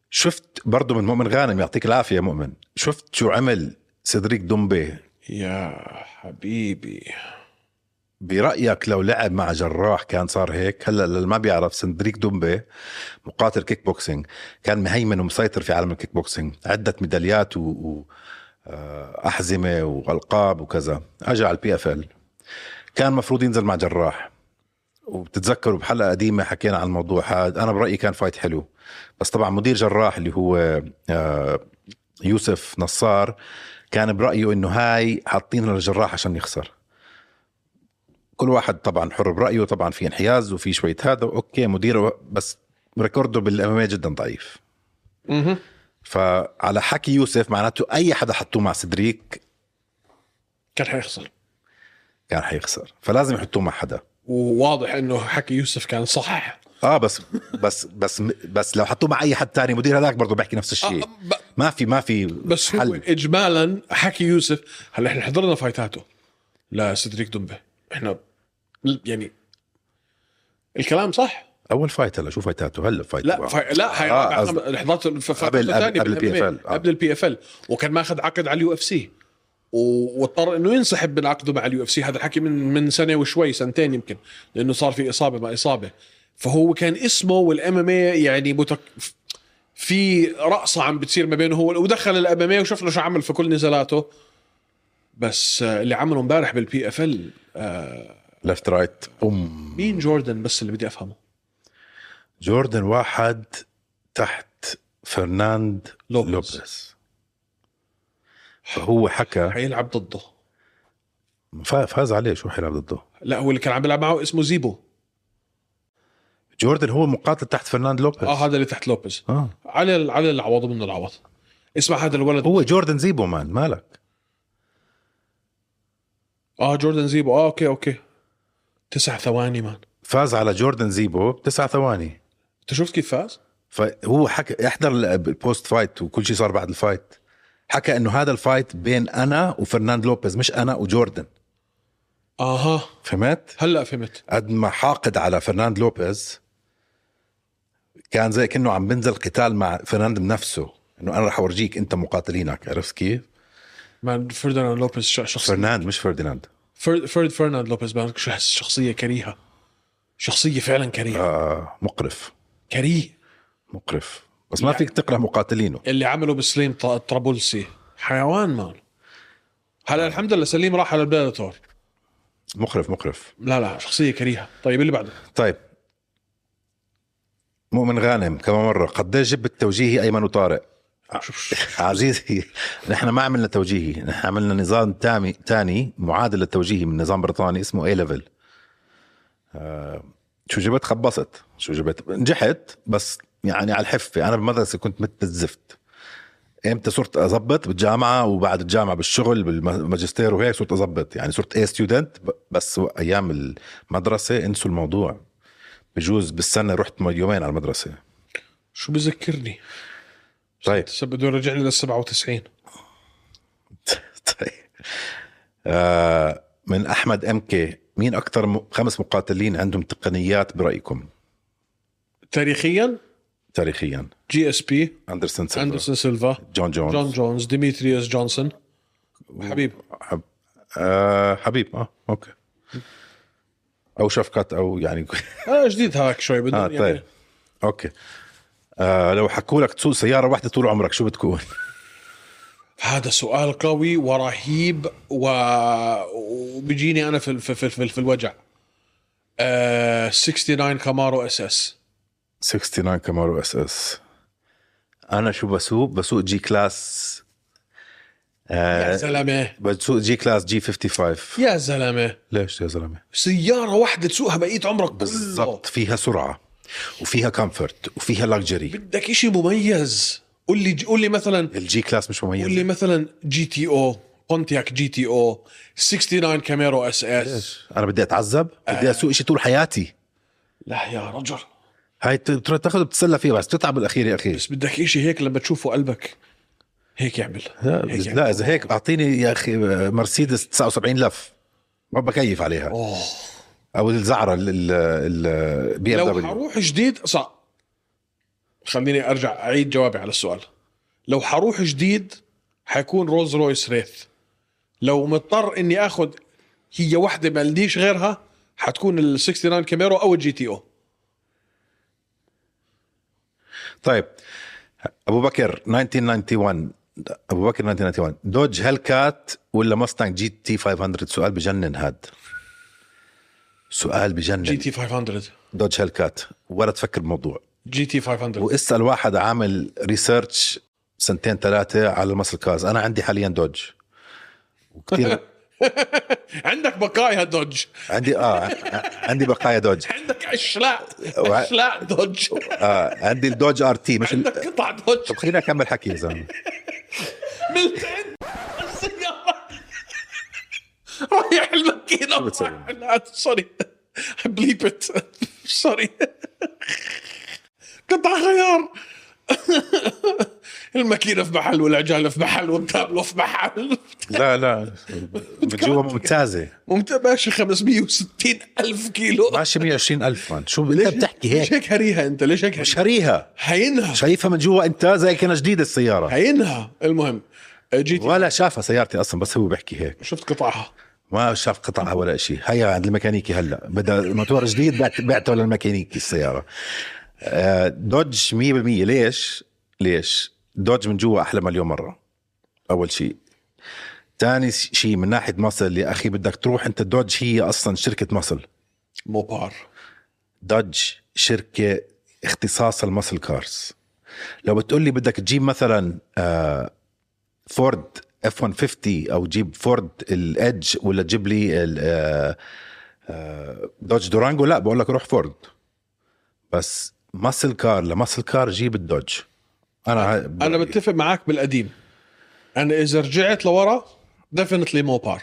شفت برضه من مؤمن غانم يعطيك العافيه يا مؤمن شفت شو عمل سيدريك دومبي
يا حبيبي
برايك لو لعب مع جراح كان صار هيك هلا اللي ما بيعرف سندريك دومبي مقاتل كيك بوكسينج كان مهيمن ومسيطر في عالم الكيك بوكسينج عده ميداليات و... و... آه، احزمه والقاب وكذا اجى على البي اف ال كان مفروض ينزل مع جراح وبتتذكروا بحلقه قديمه حكينا عن الموضوع هذا انا برايي كان فايت حلو بس طبعا مدير جراح اللي هو آه، يوسف نصار كان برايه انه هاي حاطينها للجراح عشان يخسر كل واحد طبعا حر برايه طبعا في انحياز وفي شويه هذا اوكي مديره بس ريكوردو بالاماميه جدا ضعيف
اها
فعلى حكي يوسف معناته اي حدا حطوه مع سدريك
كان حيخسر
كان حيخسر فلازم يحطوه مع حدا
وواضح انه حكي يوسف كان صح
اه بس بس بس بس لو حطوه مع اي حد تاني مدير هذاك برضه بيحكي نفس
آه،
الشيء
ب-
ما في ما في
بس هو اجمالا حكي يوسف هلا احنا حضرنا فايتاته لسدريك دمبه احنا يعني الكلام صح
اول فايت هلا شو فايتاته هلا فايت
لا فا... لا هاي
آه،
آه
قصد-
حضرت الف-
قبل-
فايت الثانية
قبل
بالMMA
PFL. آه.
قبل البي اف ال وكان ماخذ عقد على اليو اف سي واضطر انه ينسحب من عقده مع اليو اف سي هذا الحكي من من سنه وشوي سنتين يمكن لانه صار في اصابه ما اصابه فهو كان اسمه والام ام يعني متك... في رقصه عم بتصير ما بينه هو ودخل الام ام وشفنا شو عمل في كل نزالاته بس آه، اللي عمله امبارح بالبي اف ال
ليفت رايت ام
مين جوردن بس اللي بدي افهمه
جوردن واحد تحت فرناند
لوبيز.
لوبيز, لوبيز. فهو حكى
حيلعب ضده
فا- فاز عليه شو حيلعب ضده
لا هو اللي كان عم بيلعب معه اسمه زيبو
جوردن هو مقاتل تحت فرناند لوبيز
اه هذا اللي تحت لوبيز
آه.
على ال- على العوض من العوض اسمع هذا الولد
هو جوردن زيبو مان مالك
اه جوردن زيبو اه اوكي اوكي تسع ثواني مان
فاز على جوردن زيبو بتسع ثواني
انت شفت كيف فاز؟
فهو حكى احضر ال- البوست فايت وكل شيء صار بعد الفايت حكى انه هذا الفايت بين انا وفرناند لوبيز مش انا وجوردن
اها
فهمت؟
هلا فهمت
قد ما حاقد على فرناند لوبيز كان زي كانه عم بنزل قتال مع فرناند بنفسه انه انا رح اورجيك انت مقاتلينك عرفت كيف؟
مان فرديناند لوبيز ش- شخص
فرناند مش فرديناند
فرد فرد فرناند لوبيز مان ش- شخصيه كريهه شخصيه فعلا كريهه
آه مقرف
كريه
مقرف بس ما فيك تكره مقاتلينه
اللي عمله بسليم ط- طرابلسي حيوان مان هلا الحمد لله سليم راح على البلاتور
مقرف مقرف
لا لا شخصيه كريهه طيب اللي بعده
طيب مؤمن غانم كمان مرة قديش جب التوجيهي أيمن وطارق
شوف شوف.
عزيزي نحن ما عملنا توجيهي نحن عملنا نظام تامي تاني معادل للتوجيهي من نظام بريطاني اسمه اي ليفل شو جبت خبصت شو جبت نجحت بس يعني على الحفة أنا بالمدرسة كنت مثل الزفت امتى صرت اظبط بالجامعه وبعد الجامعه بالشغل بالماجستير وهيك صرت اظبط يعني صرت اي ستودنت بس ايام المدرسه انسوا الموضوع بجوز بالسنه رحت يومين على المدرسه
شو بذكرني
طيب
هسه بده يرجعني لل 97
طيب آه من احمد امكي مين اكثر م- خمس مقاتلين عندهم تقنيات برايكم
تاريخيا
تاريخيا
جي اس بي
اندرسون سيلفا
اندرسون سيلفا
جون جونز
جون جونز ديميتريوس جونسون حبيب
حب... آه حبيب اه اوكي او شفقة او يعني
آه جديد هاك شوي بدون
اه طيب اوكي آه لو حكوا لك تسوق سياره واحده طول عمرك شو بتكون؟
هذا سؤال قوي ورهيب و... وبيجيني انا في في في, في, في الوجع آه 69 كامارو اس اس
69 كامارو اس اس انا شو بسوق؟ بسوق جي كلاس
يا
آه
زلمه
بسوق جي كلاس جي 55
يا زلمه
ليش يا زلمه؟
سياره واحده تسوقها بقيت عمرك كله.
بالضبط فيها سرعه وفيها كمفورت وفيها لكجري
بدك شيء مميز قول لي قول لي مثلا
الجي كلاس مش
قول لي
مميز
مثلا جي تي او بونتياك جي تي او 69 كاميرو اس اس
انا بدي اتعذب بدي اسوق شيء طول حياتي
لا يا رجل
هاي بتروح تاخذ بتتسلى فيها بس تتعب بالاخير يا اخي
بس بدك شيء هيك لما تشوفه قلبك هيك يعمل هيك يعمل.
لا اذا هيك اعطيني يا اخي مرسيدس 79 لف ما بكيف عليها
أوه.
او الزعره البي ام
لو
دبليو
حروح جديد صح خليني ارجع اعيد جوابي على السؤال لو حروح جديد حيكون رولز رويس ريث لو مضطر اني اخذ هي واحده ما عنديش غيرها حتكون ال 69 كاميرو او الجي تي او
طيب ابو بكر 1991 ابو بكر 1991 دوج هالكات ولا مستانج جي تي 500 سؤال بجنن هاد سؤال
جي
بجنن
تي 500
دوج هالكات ولا تفكر بالموضوع
جي تي 500
واسال واحد عامل ريسيرش سنتين ثلاثه على المسل كاز انا عندي حاليا دوج وكثير
عندك بقايا دوج
عندي اه عندي بقايا دوج
عندك اشلاء
وع-
اشلاء دوج
آه عندي الدوج ار تي مش ال...
عندك قطع دوج
طب خليني اكمل حكي يا زلمه
ملت عند السيارة رايح الماكينة
شو بتسوي؟
لا سوري بليبت سوري قطع خيار الماكينة في محل والعجالة في محل والتابلو في محل
لا لا بتجوها ممتازه
ممتع ماشي 560 ألف كيلو
ماشي 120 الف مان شو انت بتحكي
ليش
طيب، هيك
هيك هريها انت ليش هيك هريها؟
شاريها
هينها
شايفها من جوا انت زي كانها جديده السياره
هينها المهم جيت
ولا شافها سيارتي اصلا بس هو بيحكي هيك
شفت قطعها
ما شاف قطعها ولا شيء هيا عند الميكانيكي هلا بدها موتور جديد بعت- بعته للميكانيكي السياره آه، دوج 100% ليش ليش دوج من جوا احلى مليون مره اول شيء تاني شيء من ناحيه مصل يا اخي بدك تروح انت دوج هي اصلا شركه مصل
موبار
دوج شركه اختصاصها المسل كارز لو بتقول لي بدك تجيب مثلا آه، فورد اف 150 او تجيب فورد الادج ولا تجيب لي ال، آه، آه، دوج دورانجو لا بقول لك روح فورد بس مسل كار لمسل كار جيب الدوج انا
انا بتفق معك بالقديم انا اذا رجعت لورا ديفنتلي موبار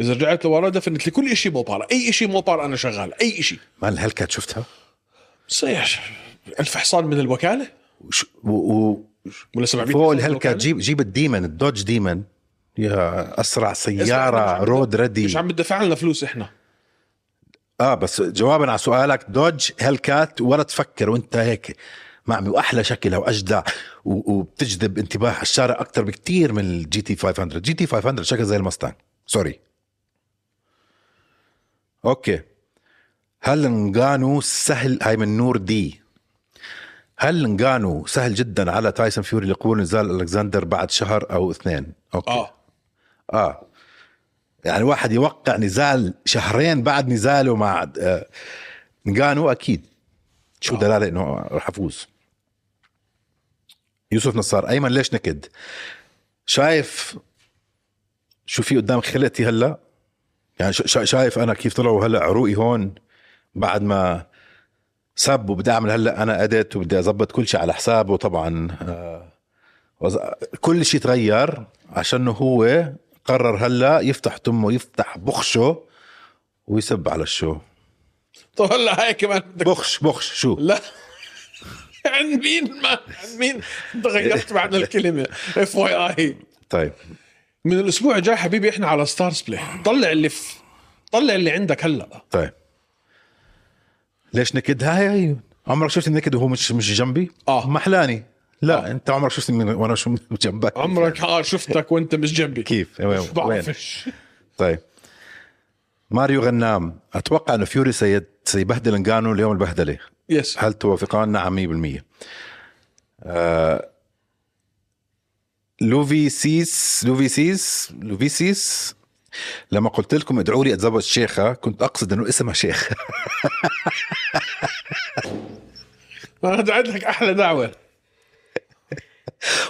اذا رجعت لورا ديفنتلي كل شيء موبار اي شيء موبار انا شغال اي شيء
مال الهلكات شفتها
صيح الف حصان من الوكاله
وش- و- و-
ولا 700
فوق
حصان من
الهلكات
الوكالة؟
جيب جيب الديمن الدوج ديمن يا اسرع
إحنا
سياره
عم-
رود ريدي
مش عم بدفع لنا فلوس احنا
اه بس جوابا على سؤالك دوج هالكات ولا تفكر وانت هيك معمي واحلى شكلها واجدع و- وبتجذب انتباه الشارع اكثر بكتير من الجي تي 500 جي تي 500 شكل زي المستانج سوري اوكي هل نغانو سهل هاي من نور دي هل نغانو سهل جدا على تايسون فيوري لقبول نزال الكسندر بعد شهر او اثنين اوكي
اه
اه يعني واحد يوقع نزال شهرين بعد نزاله مع آه، نقانو اكيد شو
آه.
دلاله انه رح افوز يوسف نصار ايمن ليش نكد شايف شو في قدام خلقتي هلا يعني شا- شا- شايف انا كيف طلعوا هلا عروقي هون بعد ما سب وبدي اعمل هلا انا اديت وبدي اظبط كل شيء على حسابه طبعا آه، وز- كل شيء تغير عشان هو قرر هلا يفتح تمه يفتح بخشه ويسب على الشو
طب هلا هاي كمان بدك
بخش بخش شو
لا عن مين ما عن مين انت غيرت معنى الكلمه اف واي اي
طيب
من الاسبوع الجاي حبيبي احنا على ستارز بلاي طلع اللي في طلع اللي عندك هلا
طيب ليش نكد هاي هاي عمرك شفت نكد وهو مش مش جنبي
آه.
محلاني لا
آه.
آه. انت عمرك شفتني من- وانا شو جنبك
عمرك اه شفتك وانت مش جنبي
كيف وين وين
بعرفش
طيب ماريو غنام اتوقع انه فيوري سيد سيبهدل انجانو اليوم البهدله
يس
هل توافقان نعم 100% آه، لوفي سيس لوفي سيس لوفي سيس لما قلت لكم ادعوا لي اتزوج شيخه كنت اقصد انه اسمها شيخ
انا دعيت لك احلى دعوه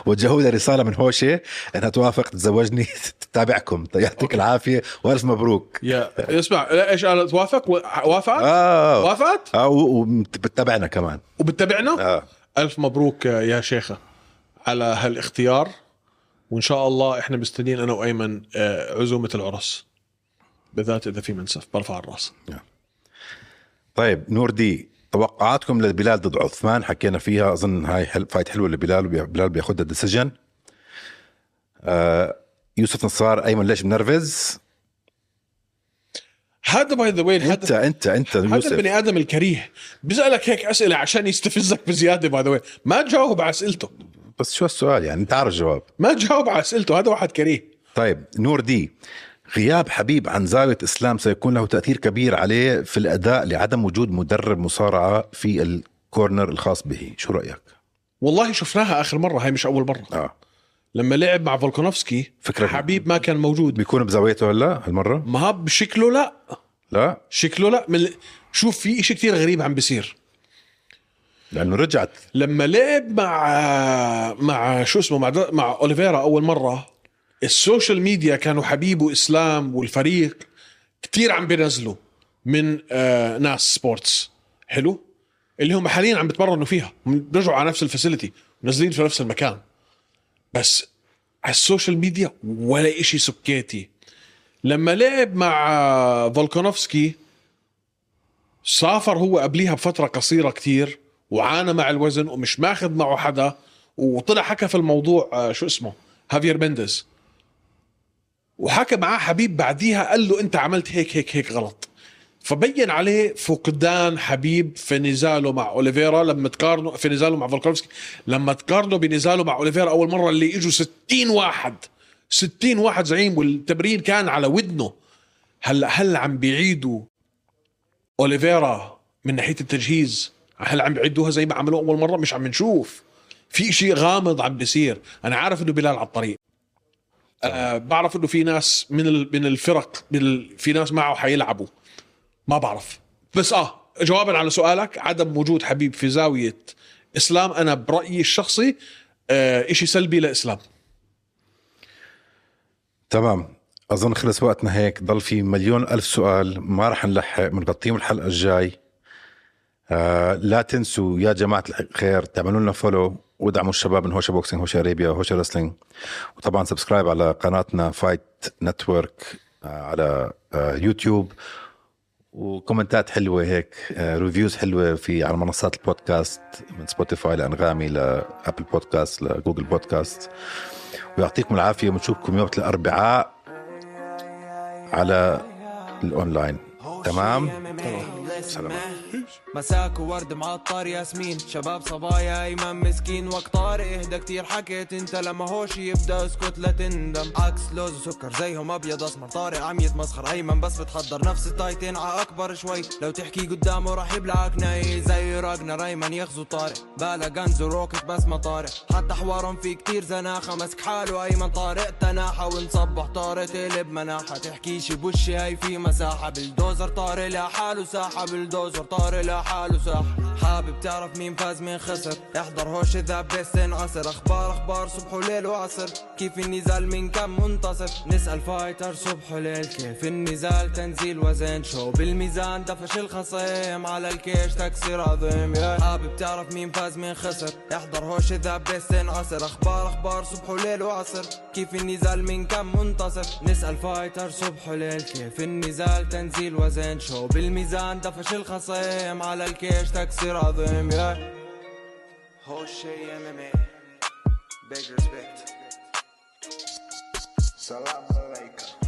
وجهوا لي رساله من هوشه انها توافق تتزوجني تتابعكم طيب يعطيك العافيه والف مبروك
يا اسمع لا ايش قالت وافق وافقت
اه
وافقت
اه و- وبتتابعنا كمان
وبتتابعنا
اه
الف مبروك يا شيخه على هالاختيار وان شاء الله احنا مستنيين انا وايمن آه، عزومه العرس بالذات اذا في منسف برفع الراس
طيب نور دي توقعاتكم للبلال ضد عثمان حكينا فيها اظن هاي حل... فايت حلوه لبلال وبي- بلال بياخذها ديسيجن آه يوسف نصار ايمن ليش منرفز
هذا باي ذا واي
انت
هذا
انت انت
هذا
يوسف
البني ادم الكريه بيسالك هيك اسئله عشان يستفزك بزياده باي ذا واي ما تجاوب على اسئلته
بس شو السؤال يعني انت عارف الجواب
ما تجاوب على اسئلته هذا واحد كريه
طيب نور دي غياب حبيب عن زاوية إسلام سيكون له تأثير كبير عليه في الأداء لعدم وجود مدرب مصارعة في الكورنر الخاص به شو رأيك؟
والله شفناها اخر مره هاي مش اول مره
آه
لما لعب مع فولكانوفسكي
فكرة-
حبيب ما كان موجود
بيكون بزاويته هلا هالمرة؟
ما هب- شكله لا
لا
شكله لا من شوف في شيء كثير غريب عم بيصير
لأنه رجعت
لما لعب مع مع شو اسمه مع مع اوليفيرا اول مره السوشيال ميديا كانوا حبيب واسلام والفريق كثير عم بينزلوا من آه ناس سبورتس حلو اللي هم حاليا عم بتمرنوا فيها بيرجعوا على نفس الفاسيلتي نازلين في نفس المكان بس على السوشيال ميديا ولا إشي سكيتي لما لعب مع آه، فولكانوفسكي سافر هو قبليها بفترة قصيرة كتير وعانى مع الوزن ومش ماخذ معه حدا وطلع حكى في الموضوع آه، شو اسمه هافير مينديز وحكى معاه حبيب بعديها قال له انت عملت هيك هيك هيك غلط فبين عليه فقدان حبيب في نزاله مع اوليفيرا لما تقارنه في نزاله مع فولكانوفسكي لما تقارنه بنزاله مع اوليفيرا اول مره اللي اجوا 60 واحد 60 واحد زعيم والتمرين كان على ودنه هلا هل عم بيعيدوا اوليفيرا من ناحيه التجهيز هل عم بيعدوها زي ما عملوا اول مره مش عم نشوف في شيء غامض عم بيصير انا عارف انه بلال على الطريق آه بعرف انه في ناس من ال- من الفرق من ال- في ناس معه حيلعبوا ما بعرف بس اه جوابا على سؤالك عدم وجود حبيب في زاويه اسلام انا برايي الشخصي آه شيء سلبي لاسلام
تمام اظن خلص وقتنا هيك ضل في مليون الف سؤال ما رح نلحق بنغطيهم الحلقه الجاي آه لا تنسوا يا جماعه الخير تعملوا لنا فولو وادعموا الشباب من هوشا بوكسينج هوشا اريبيا هوشا رسلينج وطبعا سبسكرايب على قناتنا فايت نتورك آه على آه يوتيوب وكومنتات حلوه هيك آه ريفيوز حلوه في على منصات البودكاست من سبوتيفاي لانغامي لابل بودكاست لجوجل بودكاست ويعطيكم العافيه ونشوفكم يوم الاربعاء على الاونلاين تمام سلام
مساك وورد معطر ياسمين شباب صبايا ايمن مسكين وقت طارق اهدى كتير حكيت انت لما هوش يبدا اسكت لا تندم عكس لوز وسكر زيهم ابيض اسمر طارق عم يتمسخر ايمن بس بتحضر نفس التايتين ع اكبر شوي لو تحكي قدامه راح يبلعك ناي زي راجنا ريمان يغزو طارق بالا غنز وروكت بس ما طارق حتى حوارهم في كتير زناخه مسك حاله ايمن طارق تناحى ونصبح طارق تقلب مناحة تحكيش بوشي هاي في مساحة بلدوزر طارق لحاله ساحة بلدوزر طارق لحاله ساحة حابب تعرف مين فاز مين خسر احضر هوش ذا بس انعصر اخبار اخبار صبح وليل وعصر كيف النزال من كان منتصف نسأل فايتر صبح وليل كيف النزال تنزيل وزن شو بالميزان دفش الخصيم على الكيش تكسير عظيم yeah. حابب تعرف مين فاز مين خسر احضر هوش ذا بس انعصر اخبار اخبار صبح وليل وعصر كيف النزال من كان منتصف نسأل فايتر صبح وليل كيف النزال تنزيل وزن شو بالميزان دفش الخصيم على الكيش تكسير عظيم yeah.
Hoshi
إيه.
MMA. Big respect. Salam alaikum.